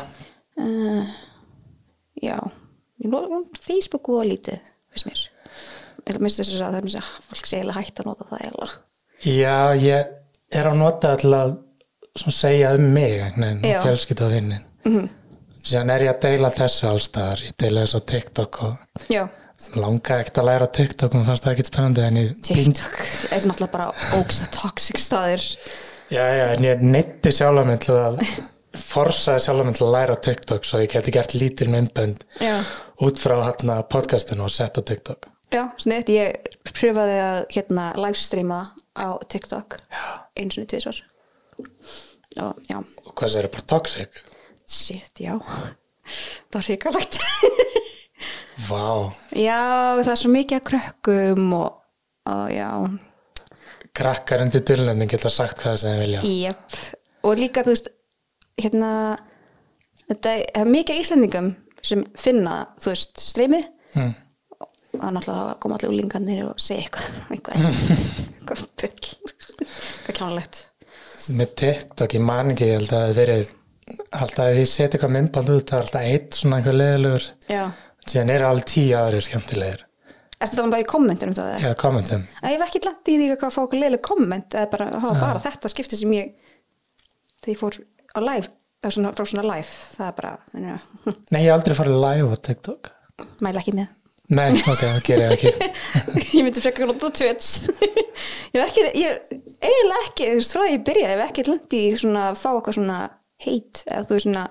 B: já, ég nota Facebook og lítið, veist mér. Ég minnst þess að það er mér að fólk sé eiginlega hægt að nota það eiginlega.
A: já, ég er að nota alltaf sem segja um mig nein,
B: Já. Mhm.
A: og fjölskyldu og vinnin mm -hmm. Síðan er ég að deila þessu allstaðar Ég deila þessu á TikTok og
B: Já,
A: langaði ekkert að læra á TikTok og fannst það ekkert spennandi en ég
B: TikTok er náttúrulega bara ógsta toxic staður.
A: Já, já, en ég neytti sjálf minn til að forsaði sjálf minn til að læra á TikTok svo ég geti gert lítil myndbönd
B: Já.
A: út frá hann podcastinu og sett á TikTok
B: Já, sniðt, ég pröfaði að hérna livestreama á TikTok
A: Já.
B: eins og tvisvar og já,
A: og hvað það er bara toxic
B: shit, já það var hrikalegt
A: Vá
B: Já, það er svo mikið að krökkum og, og já,
A: krakkar undir dullnefning geta sagt hvað sem þeir vilja
B: jep og líka, þú veist, hérna þetta er mikið af Íslendingum sem finna, þú veist, streymið
A: mm.
B: og það er náttúrulega koma allir úlingarnir og segja eitthvað eitthvað, eitthvað bull eitthvað kjánlegt
A: með TikTok, ég man ekki ég held að það hafi verið alltaf ef ég seti eitthvað myndbald út það er alltaf eitt svona einhver leðilegur
B: já.
A: síðan eru alveg tíu aðrir skemmtilegir
B: Erstu það bara í kommentunum það?
A: eða kommentum
B: Æ, ég hef ekki langt í því að fá okkur leilig komment eða bara hafa bara þetta skipti sem ég þegar ég fór á live eða svona, frá svona live, það er bara neina,
A: Nei, ég hef aldrei farið live á TikTok
B: mæla ekki með
A: Nei, ok, það gerir ég ekki
B: ég myndi frekar að nota Twitch ég hef ekki, ég eiginlega ekki, þú veist, frá því að ég byrjaði, ég hef ekki langt í svona að fá okkur svona hate eða þú veist svona,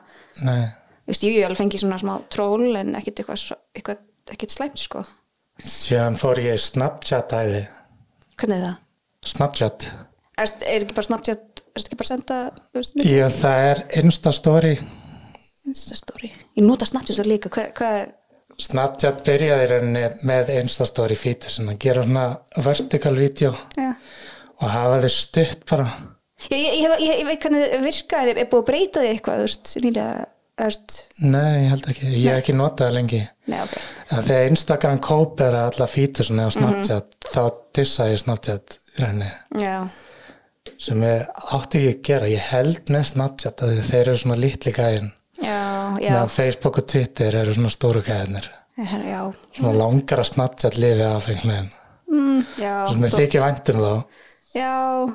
A: Nei,
B: þú veist, jú, ég alveg fengi svona smá troll en ekkit eitthvað, svo- eitthvað ekkit slæmt, sko,
A: síðan fór ég í Snapchat æði
B: hvernig er það?
A: Snapchat
B: Erst, er ekki bara Snapchat, er ekki bara að senda, þú veist,
A: Ég, það er Instastory
B: Instastory ég nota Snapchat svo líka, hvað, hvað er
A: Snapchat byrjaði í rauninni með Instastory feature sem að gera svona vertical video
B: Já.
A: og hafa þið stutt bara
B: Ég, ég, ég, hef- ég, ég veit hvernig það virkar, er, er búið að breyta þig eitthvað, þú veist, nýlega, þú veist,
A: Nei, ég held ekki, ég hef ekki notað það lengi
B: nei, ok.
A: að þegar Instagram kópera alla feature svona á Snapchat þá dissa ég Snapchat í rauninni
B: Já,
A: sem ég átti ekki að gera, ég held með Snapchat að þeir eru svona litli gæðin
B: já, já,
A: meðan Facebook og Twitter eru svona stóru gæðinir
B: já, já,
A: svona langar að Snapchat lifi af einhvern veginn
B: mm, já,
A: sem ég
B: þó,
A: þykir vænt um þá
B: já,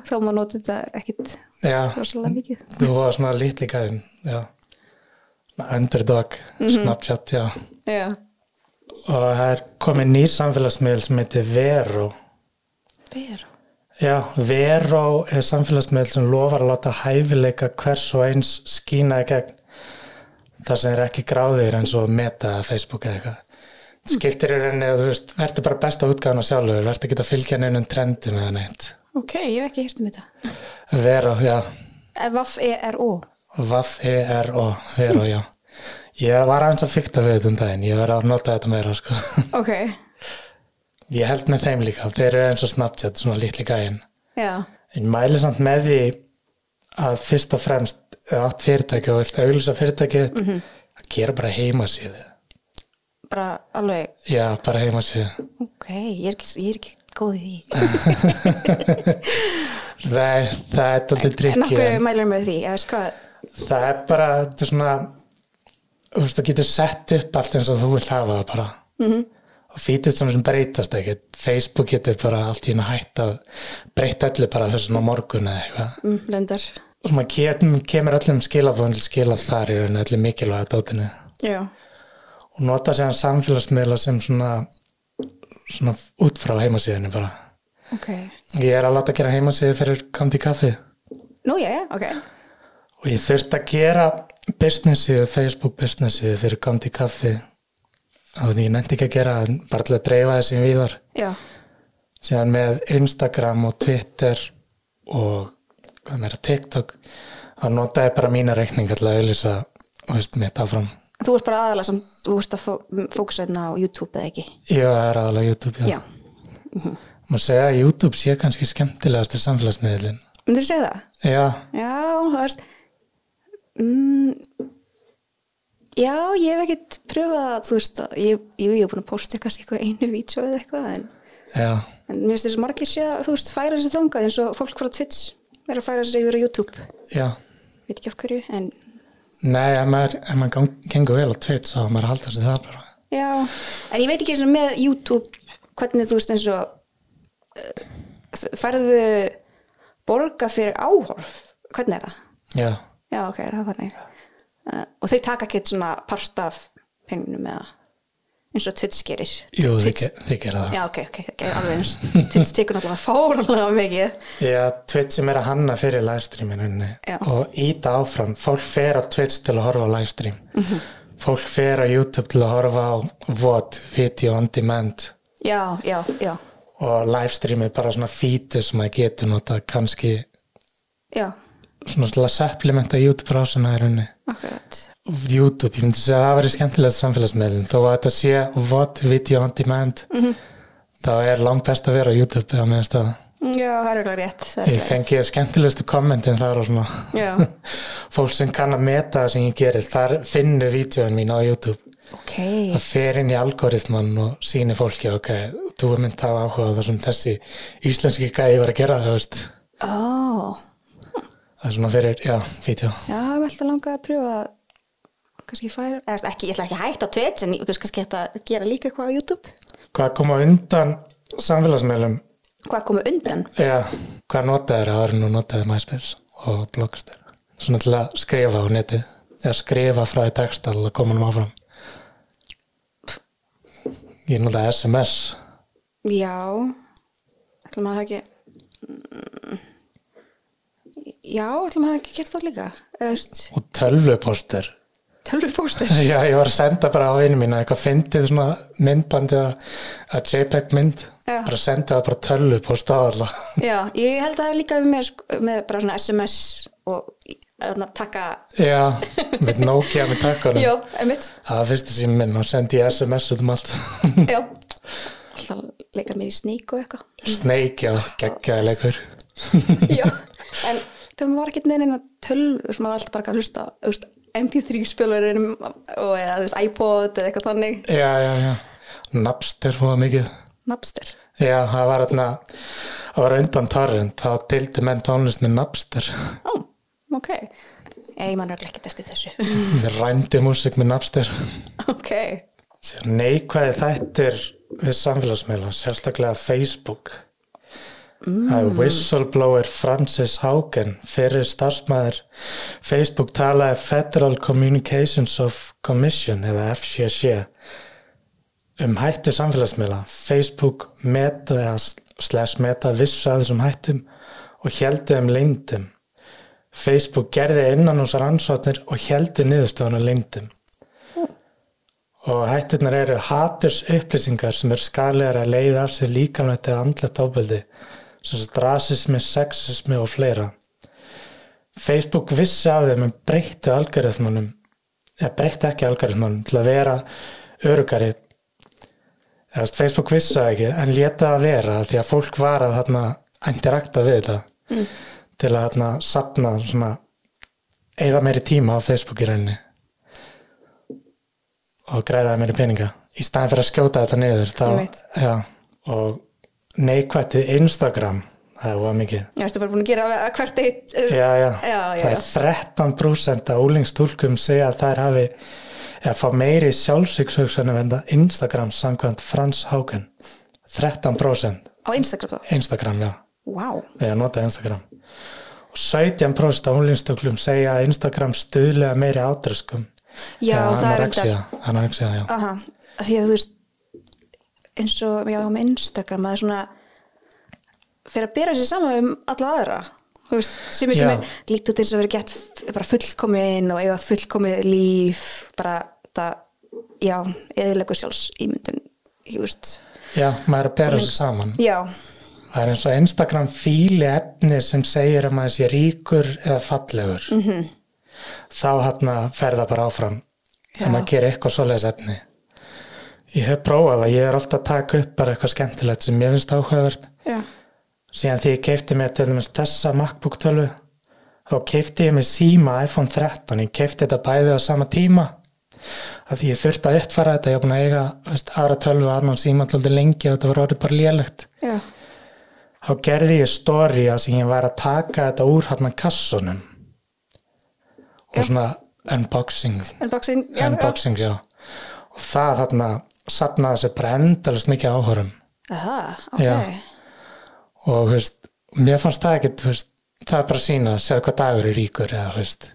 B: þá maður nota þetta ekkit
A: Já,
B: rosalega mikið.
A: þú var svona litli gæðin já, svona underdog Snapchat, já
B: Já,
A: og það er komið nýr samfélagsmiðl sem heitir Vero
B: veru.
A: Já, Vero er samfélagsmiðl sem lofar að láta hæfileika hvers og eins skína í gegn þar sem er ekki gráðir eins og meta eða Facebook eða eitthvað. Það Skiptir í rauninni að þú veist, verður bara besta útgáðan á sjálfur, verður ekki að fylgja neinum trendum eða neitt.
B: Ok, ég hef ekki hýrt um þetta.
A: Vero, já,
B: Eh, Vaf-E-R-O.
A: Vaff-E-R-O, Vero, já. Ég var aðeins að fykta við þetta um daginn, ég verði að nota þetta meira, sko.
B: Ok,
A: Ég held með þeim líka, þeir eru eins og Snapchat, svona litli gæinn.
B: já,
A: Ég mæli samt með því að fyrst og fremst ef þú átt fyrirtæki og vilt auglýsa fyrirtæki að gera bara heimasíðu
B: bara alveg,
A: já, bara heimasíðu
B: ok, ég er ekki, ég er ekki góð í því.
A: það, það er alltaf
B: En
A: drikki
B: okkur mælar með því, sko, ég veist hvað,
A: það er bara þetta er svona þú veist, þú getur sett upp allt eins og þú vilt hafa það bara -hmm. og fítið sem, sem breytast ekkert Facebook getur bara allt í henni hætt að breyta öllu bara þessum á morgun eða eitthvað
B: mm, lendar,
A: og maður kem, kemur öllum skilabóðan til skila þar í rauninu, öllu mikilvæga dátinu
B: já,
A: og nota séðan samfélagsmiðla sem svona, svona út frá heimasíðinu bara.
B: ok.
A: Ég er að láta gera heimasíðu fyrir Kamdi Kaffi
B: Nú, já, já, ok,
A: og ég þurfti að gera businessíðu, Facebook businessíðu fyrir Kamdi Kaffi og því ég nefndi ekki að gera það, en bara til að dreifa þessi viðar.
B: já,
A: Síðan með Instagram og Twitter og hvað meira TikTok að nota ég bara mína reikning alltaf að auðlýsa og veist mitt áfram.
B: Þú ert bara aðalega sem þú ert að fó- fókusa hérna á YouTube eða ekki?
A: Ég er aðalega YouTube, já.
B: Já.
A: Má segja að YouTube sé kannski skemmtilegast til samfélagsmiðlinn.
B: Myndir þú segja það?
A: Já,
B: Já, þú veist. Mm, já, ég hef ekkert pröfað að, þú veist, að ég, jú, ég hef búin að posta kannski eitthvað einu vídeo eða eitthvað, en,
A: já,
B: en mér finnst þess að margir sé að, þú veist, færa sér þangað eins og fólk frá Twitch er að færa sér yfir á YouTube.
A: já.
B: Veit ekki af hverju, en
A: Nei, ef maður, ef maður gang, gengur vel á Twitch þá á maður að halda sér það bara.
B: já, en ég veit ekki eins og með YouTube, hvernig þú veist eins og, uh, færðu borga fyrir áhorf, hvernig er það?
A: Já,
B: Já, ok, það er þannig. Uh, og þau taka ekkert svona part af pengunum eða eins og Twitch gerir.
A: jú, þið,
B: Twitch-
A: ge- þið gera það.
B: Já, ok, ok, ok, alveg eins. Twitch tekur náttúrulega fáránlega mikið.
A: Já. Twitch sem er að hanna fyrir livestreaminunni
B: Já.
A: og íta áfram. Fólk fer á Twitch til að horfa á livestream.
B: Mhm.
A: Fólk fer á YouTube til að horfa á VOD, Video on Demand
B: Já, já, já,
A: og livestream er bara svona fítu sem maður getur notað kannski
B: já,
A: svona til að supplementa YouTube rásina í rauninni.
B: akkurat.
A: YouTube, ég myndi segja að það væri skemmtilegt samfélagsmiðlun, þó að þetta sé what video on demand þá er langt best að vera á YouTube eða meðan stað.
B: Já, það er alveg rétt. það er
A: Ég
B: alveg-
A: fengi skemmtilegustu kommentin þar og svona
B: Já,
A: fólk sem kann að meta það sem ég gerir, þar finnu vídjóin mín á YouTube.
B: ok,
A: Það fer inn í algoritman og sýnir fólki, ok, þú er mynd að hafa áhuga á þessum þessi íslenski gæði var að gera, þú veist.
B: ó,
A: Það það er svona fyrir, já, vídeo
B: Já, ég ætla að langa að prjófa kannski færa, eða þú veist, ekki, ég ætla ekki að hætta á Twitch en ég veist kannski hætta að gera líka eitthvað á YouTube
A: hvað kom á undan samfélagsmiðlum
B: Hvað komið undan?
A: já, hvað notaður áður nú notaður MySpace og Blockster svona til að skrifa á neti eða skrifa frá því textal og koma hann áfram ég notaði SMS
B: Já ætla maður ekki Mm. Já, ætla maður ekki að gera það líka eða þú veist,
A: og tölvupostur
B: tölvupóstir
A: já, ég var að senda bara á einu mína eitthvað fyndið svona myndband eða að JPEG mynd
B: Já.
A: bara senda það bara tölvupost á alla
B: Já, ég held að það hafi líka með, mér, sko, með bara svona SMS og að taka
A: já, með Nokia með takkunum
B: Já, einmitt
A: Það var fyrsta sími minn, hann sendi ég SMS út um allt.
B: Já Alltaf leika mér í sník og eitthvað
A: Snake, já, geggjaði leikur.
B: Já, en þegar maður var ekkert með neina tölv, þú veist, maður var alltaf bara að hlusta, þú veist, MP3-spilverðinum og eða, þú veist, iPod eða eitthvað þannig,
A: Já, já, já. Napster var mikið.
B: Napster.
A: Já, það var þarna, það var undan torrent, þá tildi menn tónlist með Napster.
B: Ó, ok. Ég man örugglega ekkert eftir þessu.
A: Mér rændi músik með Napster.
B: ok.
A: Sér neikvæði þættir við samfélagsmiðla, sérstaklega Facebook. Það er whistleblower Francis Haugen, fyrir starfsmæður Facebook talaði Federal Communications of Commission eða FCC um hættu samfélagsmiðla. Facebook meta eða slash meta vissu að þessum hættum og heldi um leyndum. Facebook gerði innan húsar ansvarnir og heldi niðurstöðuna leyndum. Og hætturnar eru haturs upplýsingar sem er skalegar að leiða af sér líkamlegt eða andlegt ábyldi, sem sagt rasismi, sexismi og fleira. Facebook vissi af þeim en breytti algoritmunum, eða breytti ekki algoritmunum til að vera örugari. Eða, þú veist, Facebook vissi það ekki en leta það vera af því að fólk var að þarna interakta við þetta til að þarna sapna svona eða meiri tíma á Facebook í rauninni og græðaði mér í peninga í staðin fyrir að skjóta þetta niður
B: Einmitt.
A: þá, já, og neikvætt við Instagram það var mikið
B: Ég veist, bara búin að gera að hvert eitt. eh,
A: já, já.
B: Já, já,
A: það
B: já.
A: er 13% af úlingstúlkum segja að þær hafi eða fá meiri sjálfsvíkshugsunum en það Instagram samkvæmt Frans Háken 13%
B: Á Instagram þá.
A: Instagram, já,
B: Wow.
A: við að nota Instagram og 17% af úlingstúlkum segja að Instagram stuðlega meiri átröskum
B: Já, það er enda.
A: anorexia, já,
B: Aha, af því að þú veist, eins og já, með Instagram, maður svona fyrir að bera sér saman um alla aðra. Þú veist, sem er sem
A: Já.
B: er líkt út eins og verið gett f- bara fullkomin og eiga fullkomið líf, bara það, já, eðilegu sjálfs ímyndun, þú veist.
A: já, maður er að bera þessu saman
B: Já,
A: Það er eins og Instagram fíli efni sem segir um að maður sé ríkur eða fallegur. -hmm. Þá hann að ferða bara áfram
B: Já.
A: að maður gerir eitthvað svoleiðis efni. Ég hef prófað að ég er ofta að taka upp bara eitthvað skemmtilegt sem ég finnst áhugavert.
B: já,
A: Síðan því ég keipti mér til dæmis þessa MacBook tölvu og keipti ég mér síma iPhone 13. Ég keipti þetta bæði á sama tíma að því ég þurfti að uppfæra þetta. Ég var búin að eiga þú veist, aðra tölvu annan síma alltaf lengi og þetta var orðið bara lélegt
B: já,
A: þá gerði ég stóri að sem ég var að taka þetta úr hann kassunum og svona unboxing
B: unboxing, já,
A: unboxing, já og það þarna sapnaði sér bara endalist mikið áhörum
B: já. Aha, ok,
A: Já. og þú veist, mér fannst það ekkit þú veist, það er bara að sína að segja hvað dagur er ríkur eða þú veist,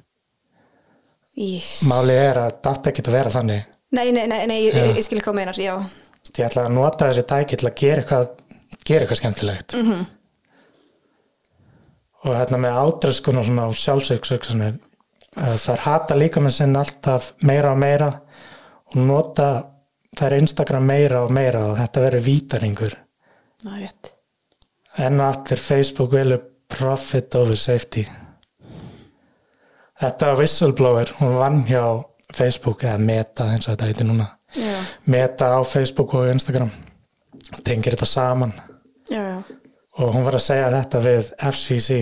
B: ís.
A: málið er að þetta ekkit að vera þannig Þú
B: Nei, nei, nei, nei, ég, ég, ég skil hvað meinar, já,
A: veist, ég ætla að nota þessi tæki til að gera eitthvað gera eitthvað skemmtilegt mm -hmm. og þarna með átröskun og svona sjálfsöksunir þar hata líka með sinn alltaf meira og meira og nota þær Instagram meira og meira og þetta verður vítaringur
B: ná, rétt.
A: enn og aftur Facebook velur profit over safety þetta var whistleblower hún vann hjá Facebook eða Meta eins og þetta heitir núna
B: Já,
A: Meta á Facebook og Instagram tengir þetta saman
B: já, já.
A: og hún var að segja þetta við FCC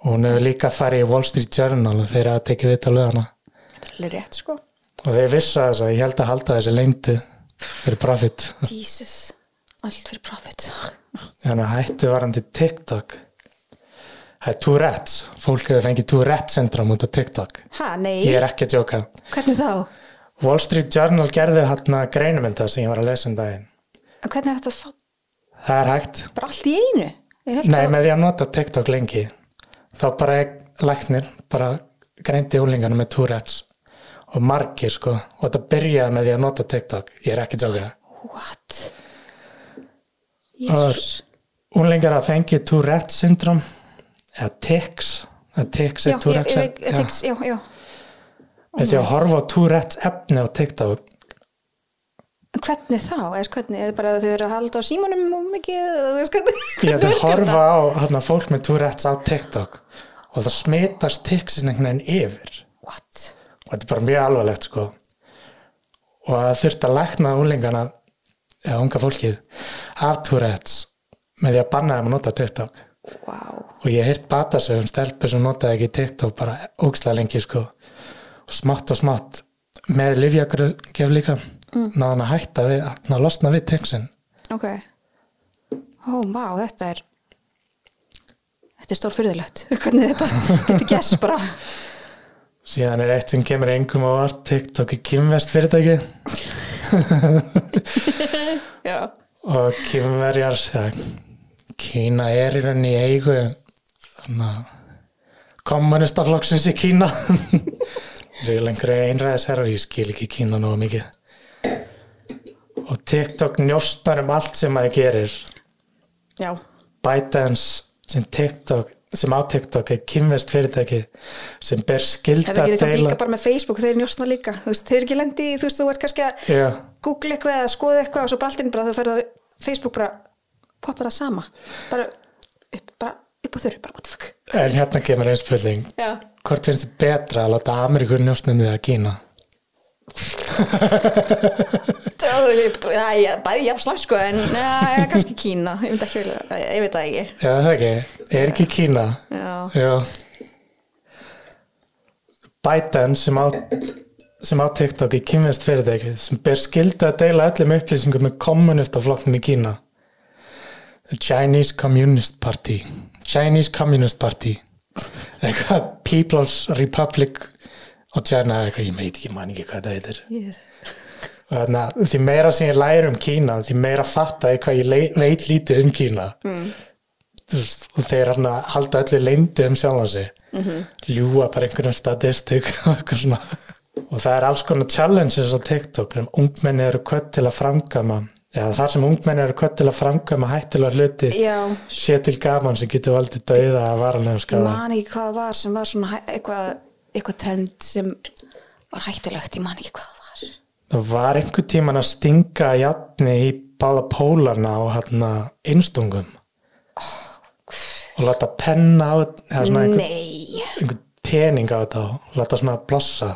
A: og hún hefur líka farið í Wall Street Journal og þeir að tekið vita lögana
B: Það er alveg rétt, sko.
A: og þeir vissu þess að ég held að halda þessi leindu fyrir profit
B: Jesus, allt fyrir profit
A: en að hættu varandi TikTok það er Tourette's, fólk hefur fengið Tourette's syndrom út af TikTok
B: Ha, nei,
A: ég er ekki að jóka
B: hvernig þá?
A: Wall Street Journal gerði hérna greinumynda sem ég var að lesa um daginn
B: En Hvernig er þetta að fá
A: það er hægt,
B: bara allt í einu? Ég held
A: nei
B: að-
A: með því að nota TikTok lengi þá bara ég læknir bara greindi úlingana með Tourette's og margir sko og þetta byrjaði með því að nota TikTok ég er ekki að jóka
B: What?
A: var-
B: Jésús.
A: Úlingar að fengi Tourette syndrom eða tics eða tics
B: Já,
A: er
B: ég,
A: Tourette
B: ég, ég, ég, já, já.
A: þess að horfa á Tourette efni á TikTok
B: En Hvernig þá? Er, hvernig, er bara að þið eru að halda á símanum og mikið? eða þú veist hvernig-
A: ég
B: hvernig
A: þau
B: virkar
A: horfa á hana, fólk með Tourette's á TikTok og það smitast ticsin einhvern veginn yfir
B: það? What?
A: og þetta er bara mjög alvarlegt sko og það þurfti að lækna úlingana eða unga fólkið af Tourette's með því að banna þeim að nota TikTok
B: Wow.
A: og ég heilt batasögum um stelpu sem notaði ekki TikTok bara ókslega lengi sko og smátt og smátt með livjagröf líka mm. náðan að hætta við, náðan að losna við texin
B: Ok. Ó, vá, þetta er þetta er stórfyrðilegt. Hvernig þetta getur gæst bara.
A: síðan er eitt sem kemur engum á vart TikTok er kynverst fyrirtæki
B: Já.
A: og kynverjar ja, Kína er í rauninni í eigu þannig að kommunistaflokksins í Kína ríðlengur einræðisherrar ég skil ekki Kína nógu mikið og TikTok njóstnar um allt sem maður gerir
B: Já.
A: ByteDance sem TikTok sem á TikTok er kynverst fyrirtæki sem ber skilda
B: Þetta
A: að
B: getur samt
A: deila
B: líka bara með Facebook, þeir njósna líka. Þú veist, þeir eru ekki lendi, þú veist, þú ert kannski að
A: Já,
B: googla eitthvað eða skoða eitthvað og svo bara alltinn bara þú ferðu á Facebook bara poppa það sama. Bara upp, bara upp á þurru, bara what the fuck.
A: en hérna kemur einn spurning
B: Já.
A: hvort finnst þið betra að láta Ameríkur njóstnum við að Kína
B: Já, já, bæði jafn slags sko, en já, kannski Kína, ég veit ekki vilja, ég veit það ekki.
A: Já, það ekki, er ekki Kína
B: Já.
A: Já ByteDance sem á sem á TikTok er kynverst fyrirtæki sem ber skilda að deila öllum upplýsingum með kommunistaflokknum í Kína The Chinese Communist Party Chinese Communist Party eitthvað People's Republic og China eitthvað, ég veit ekki, ég man ekki hvað það heitir
B: Yes.
A: og þarna, Hérna, því meira sem ég læri um Kína því meira fatta ég hvað ég lei- veit lítið um Kína mm. veist, og þeir hann halda öllu leyndi um sjálfan sig -hmm. ljúa bara einhverjum statistik og eitthvað svona. og það er alls konar challenges á TikTok sem ungmenni eru kvött til að framkama eða þar sem ungmenni eru kvött til að framkama hættilega hluti
B: Já.
A: sé til gaman sem getur valdið dauða að varanlega
B: ég
A: skada
B: man ekki hvað það var sem var svona hæ- eitthvað, eitthvað trend sem var hættulegt, ég man ekki hvað það var
A: það var einhver tíman að stinga játni í báða pólana og hann innstungum og láta penna á eða svona einhver,
B: nei,
A: einhver pening á þetta og láta svona blossa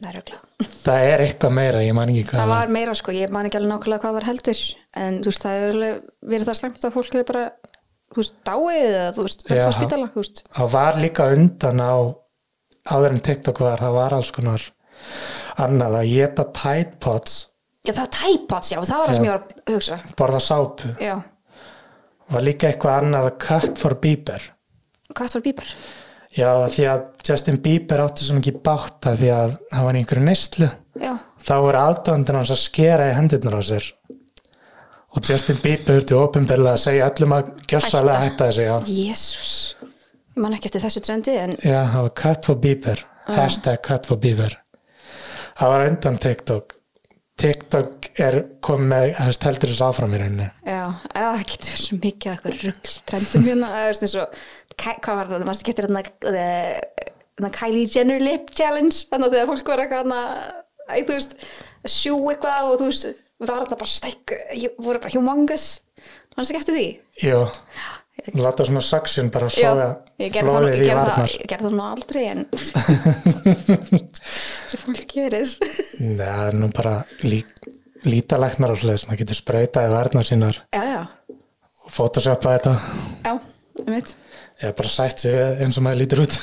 B: það er auðvitað
A: það er eitthvað meira, ég man ekki hvað
B: það var meira sko, ég man ekki alveg nákvæmlega hvað var heldur en þú veist, það hefur alveg verið það slæmt að fólk hefur bara, þú veist, dáið eða þú veist,
A: Já.
B: verður á spítala, þú veist
A: það var líka undan á áður en TikTok var, það var alls konar annað að geta Tide Pods
B: já, það er tæpats, já, það var það sem ég var að hugsa
A: borða sápu,
B: já,
A: var líka eitthvað annað að Cut for Bieber
B: hvað var bíbar?
A: Já, því að Justin Bieber átti svo mikið bátt að því að hann var í einhverju neyslu.
B: já,
A: Þá voru aðdóndin hans að skera í hendurnar á sér. Og Justin Bieber þurfti ofinberlega að segja öllum að gjössalega hætta þessu, já.
B: jésús ég man ekki eftir þessu trendi, en
A: Já, það var cut for Bieber.
B: Ah.
A: Hashtag cut for Bieber. Það var undan TikTok. TikTok er komið með, það heldur þessu áfram í rauninni.
B: Já, eða það getur verið svo mikið eitthvað rugl trendum hérna, eða veist eins og Ky- hvað var það, mannstu getur hérna Kylie Jenner lip challenge þannig að þegar fólk var eitthvað hérna þú veist, að sjú eitthvað og þú veist, var þarna bara stæk voru bara humongous, mannstu ekki eftir því
A: Jú, láta svona saxin bara
B: Já,
A: soga
B: ég gerði það, nú-
A: blóðið
B: ég
A: í
B: gerði það,
A: varnar.
B: ég gerði það nú aldrei en sem fólk gerir
A: Nei, það er nú bara lí, lítalæknar og hlutis, maður getur sprautaði varnar sínar
B: Já, já,
A: og photoshopa þetta
B: já, það mitt
A: eða bara sætt sig við eins og maður lítur út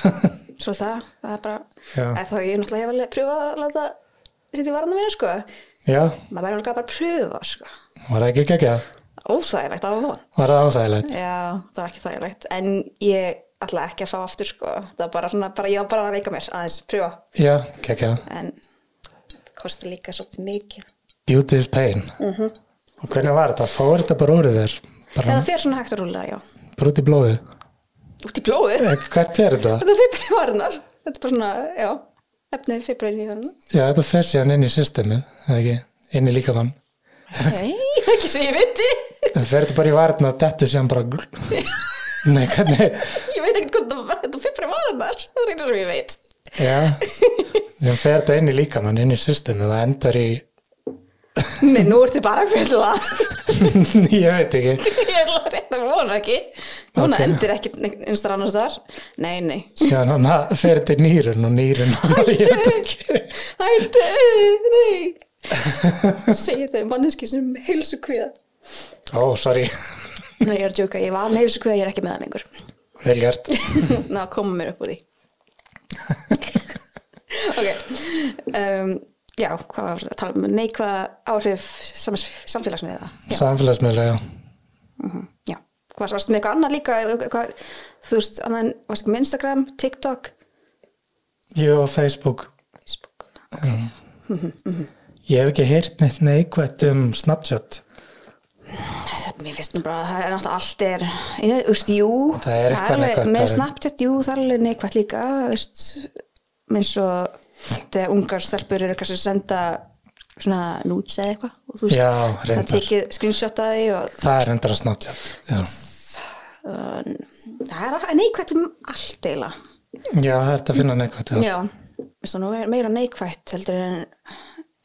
B: svo er það, það er bara
A: Já.
B: eða þá ég náttúrulega hef alveg pröfað að láta sýtti varna mínu sko
A: Já,
B: maður verður líka bara að pröfa sko
A: var það ekki ekki að
B: ó óþægilegt, það var von
A: Var það áþægilegt?
B: Já, það var ekki þægilegt En ég ætla ekki að fá aftur sko. Það var bara svona, bara, ég var bara að leika mér aðeins, prjóa
A: Já, kekja.
B: En það kosti líka svolítið mikið
A: Beauty is pain. Og hvernig var þetta? Fór þetta bara úr þér? Bara
B: Eða fer svona hægt að rúla, já
A: bara út í blóðið?
B: Út í blóðu,
A: Eh, Hvert er þetta?
B: þetta er fibrin í varunar Þetta er bara svona, já Efnið fibrin í varunar
A: Já, þetta fer síðan inn í systemið, eða ekki? Inn í líkamann.
B: Nei, ekki svo ég viti
A: En fer þetta bara í varna og dettu síðan bara... glú. Nei, hvernig?
B: Ég veit ekkert hvort það- þetta er fibrin í varunar Það er eitthvað sem ég veit
A: Já, sem fer þetta inn í líkamann, inn í systemið og endar í...
B: Nei, nú ertu bara að fylga það
A: Ég veit ekki.
B: Ég ætla að rétt að vona ekki Núna
A: Ok.
B: endir ekki einstar annars þar Nei, nei
A: Síðan hann að fer þetta í nýrun og nýrun. Ég veit ekki.
B: Hættu, nei Segja þetta er manneski sem heilsu kviða
A: Ó, sorry.
B: Nei, ég er að djóka, ég var með heilsu kviða, ég er ekki með það lengur
A: Vel gert.
B: Ná, koma mér upp úr því Ok um, Já, hvað var að tala um neikvað áhrif sams- samfélagsmiða Já,
A: Samfélagsmiðla, já.
B: já Hvað varst með eitthvað annað líka eitthvað, Þú veist, annað, en- varst ekki með Instagram, TikTok
A: Ég og Facebook.
B: Facebook
A: Ég hef ekki heyrt neitt neikvætt um Snapchat.
B: Eh, Mér finnst nú bara að það er náttúrulega allt er, ég, veist, jú,
A: Það er eitthvað
B: alveg-
A: neikvætt
B: Með
A: þar.
B: Snapchat, jú, það er alveg neikvægt líka, veist, eins og þegar ungar stelpur eru kannski að senda svona núts eða eitthvað og þú veist,
A: Já,
B: það
A: reyndar.
B: tekið screenshot að því og
A: Það er endara Snapchat. Já,
B: uh, það er neikvægt um allt eiginlega.
A: já það er þetta að finna neikvætt. Já.
B: Já, veist, nú er meira neikvægt heldur en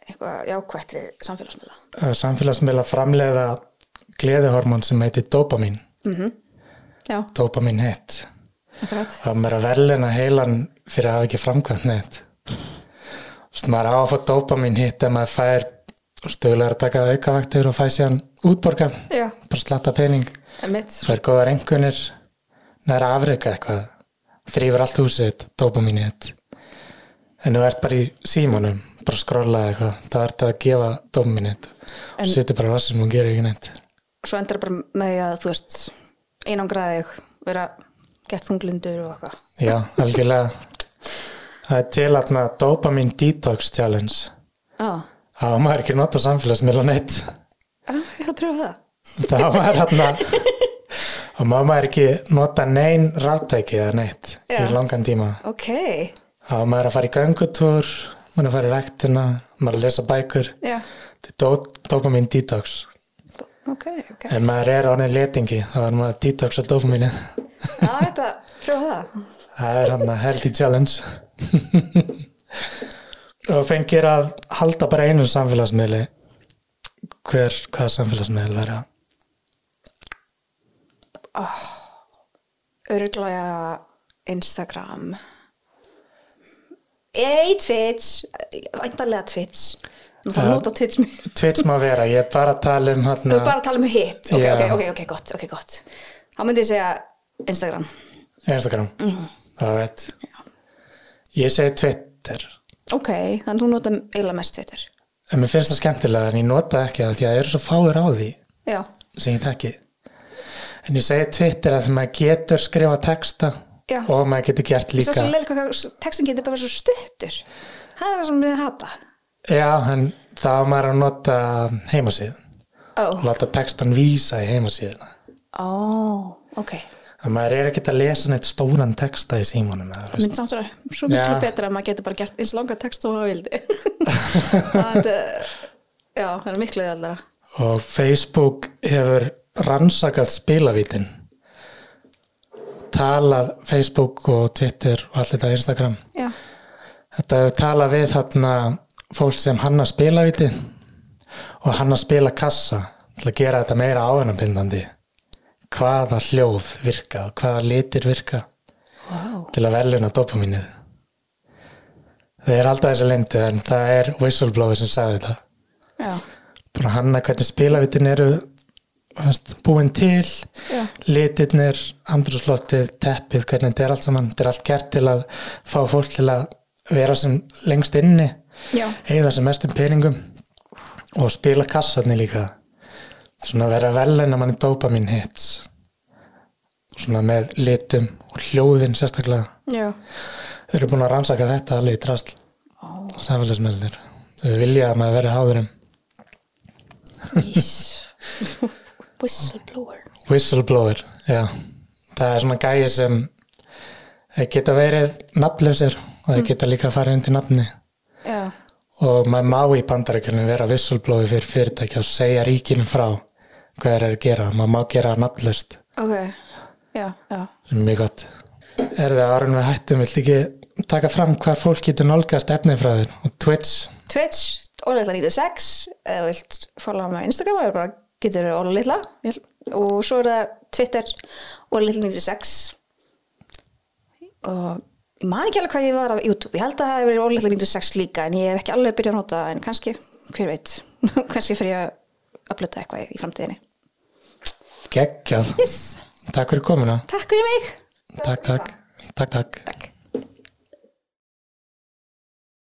B: eitthvað jákvætt við samfélagsmiðla.
A: Já. Samfélagsmiðla framleiða gleðihormón sem heitir dopamin.
B: Já,
A: Dopamin hett.
B: akkurat.
A: Það er að verðlina heilan fyrir að hafa ekki framkvæmt neitt. Þú veist, maður á að fá dopamin hitt ef maður fær stöðulega að taka aukavaktir og fæ síðan útborgað.
B: Já,
A: Bara slatta pening.
B: emitt.
A: Fær góðar engunir. Næra afreika eitthvað. Þrýfur allt húsið þitt, dopamin hitt. En þú ert bara í símanum, bara að skrolla eitthvað. Það ert að gefa dopamin hitt.
B: En-
A: En... Sittir bara á vassinu og gerir ekki neitt.
B: svo endar bara með því að þú veist einangraði þig, vera gert þunglindur og eitthvað
A: Já, algjörlega. Það er til aðna dopamin detox challenge.
B: Já,
A: Það var maður ekki að nota samfélagsmiðla neitt.
B: Já, ég ætla að pröfa það
A: Það var maður hérna og maður maður ekki nota nein ráttæki eða neitt
B: Já.
A: í langan tíma.
B: Ok,
A: Það var maður að fara í göngutúr, maður að fara í rektina, maður að lesa bækur.
B: já,
A: Þetta er dó- dopamin detox.
B: ok, ok Já,
A: Ef maður er ánið letingi þá er maður að detoxa dopaminu.
B: ég ætla að pröfa það
A: Það er hann að healthy challenge. og fengir að halda bara einu samfélagsmiðli hver, hvað samfélagsmiðl verða.
B: Öruglega Instagram Ei, Twitch, væntanlega Twitch Nú þarf að nota Twitch mér
A: Twitch má vera, ég er bara að tala um
B: Þú
A: hérna,
B: er bara að tala um hitt Ok,
A: Já.
B: ok, ok, ok, gott, ok, gott Þá myndi ég segja Instagram
A: Instagram Það veit Ég segi Twitter
B: Ok, þannig þú nota eiginlega mest Twitter
A: En mér finnst það skemmtilega en ég nota það ekki það því að það eru svo fáir á því
B: Já,
A: sem ég þekki En ég segi Twitter að því maður getur skrifa texta
B: Já.
A: og maður getur gert
B: Svo
A: líka
B: sem leil hvað textin getur bara verið svo stuttur Það er það sem við hata
A: Já, en það var maður að nota heimasíðan
B: Ó,
A: og láta textan vísa í heimasíðuna
B: ó, ok
A: en maður er ekki að lesa neitt stóran texta í símanum eða, þú veist.
B: Minn samt að svo miklu
A: Já.
B: betra að maður getur bara gert eins langa text og það vildi Það er, eh, já, það er miklu eðallara
A: og Facebook hefur rannsakað spilavítin talað Facebook og Twitter og allt þetta Instagram
B: Já,
A: þetta hefur talað við þarna fólk sem hann að spilavíti og hann að spila kassa til að gera þetta meira ávinnabindandi hvaða hljóð virka og hvaða litir virka
B: wow
A: til að verðluna dopaminið það er alltaf þessi lindu en það er whistleblower sem sagði þetta
B: Já,
A: búin að hanna hvernig spilavitin eru veist, búin til
B: Já.
A: litirnir, andrúsloftið teppið, hvernig þetta er allt saman þetta er allt gert til að fá fólk til að vera sem lengst inni
B: já,
A: eða sem mestum peningum og spila kassarni líka svona vera velina manni dopamin hits svona með litum og hljóðin sérstaklega
B: já,
A: þau eru búin að rannsaka þetta alveg í drasl
B: Ó.
A: samfélagsmeldir þau vilja að maður veri háðurum
C: Ís. Whistleblower.
A: whistleblower, já það er svona gæi sem þeir geta verið nafnlausir og þeir geta líka að fara undir nafni
B: já,
A: og maður má í bandaríkjunum vera whistleblower fyrir fyrirtæki og segja ríkinu frá hvað er að gera, maður má gera nafnlaust
B: ok, já, já.
A: sem er mjög gott er það árun við hættum, vilt ekki taka fram hvar fólk getur nálgast efnið frá þér og Twitch,
B: Twitch, Ólitla96 eða þú vilt followa mig á Instagram eða bara getur Ólitla og svo er það Twitter Ólitla96 og ég man ekki alveg hvað ég var af YouTube, ég held að það hefur verið Ólitla96 líka en ég er ekki alveg að byrja að nota það en kannski, hver veit kannski fyrir ég að upplöta eitthvað í framtíðinni
A: geggjað
B: Yes,
A: takk fyrir komuna,
B: takk fyrir mig
A: takk takk, takk takk
B: Takk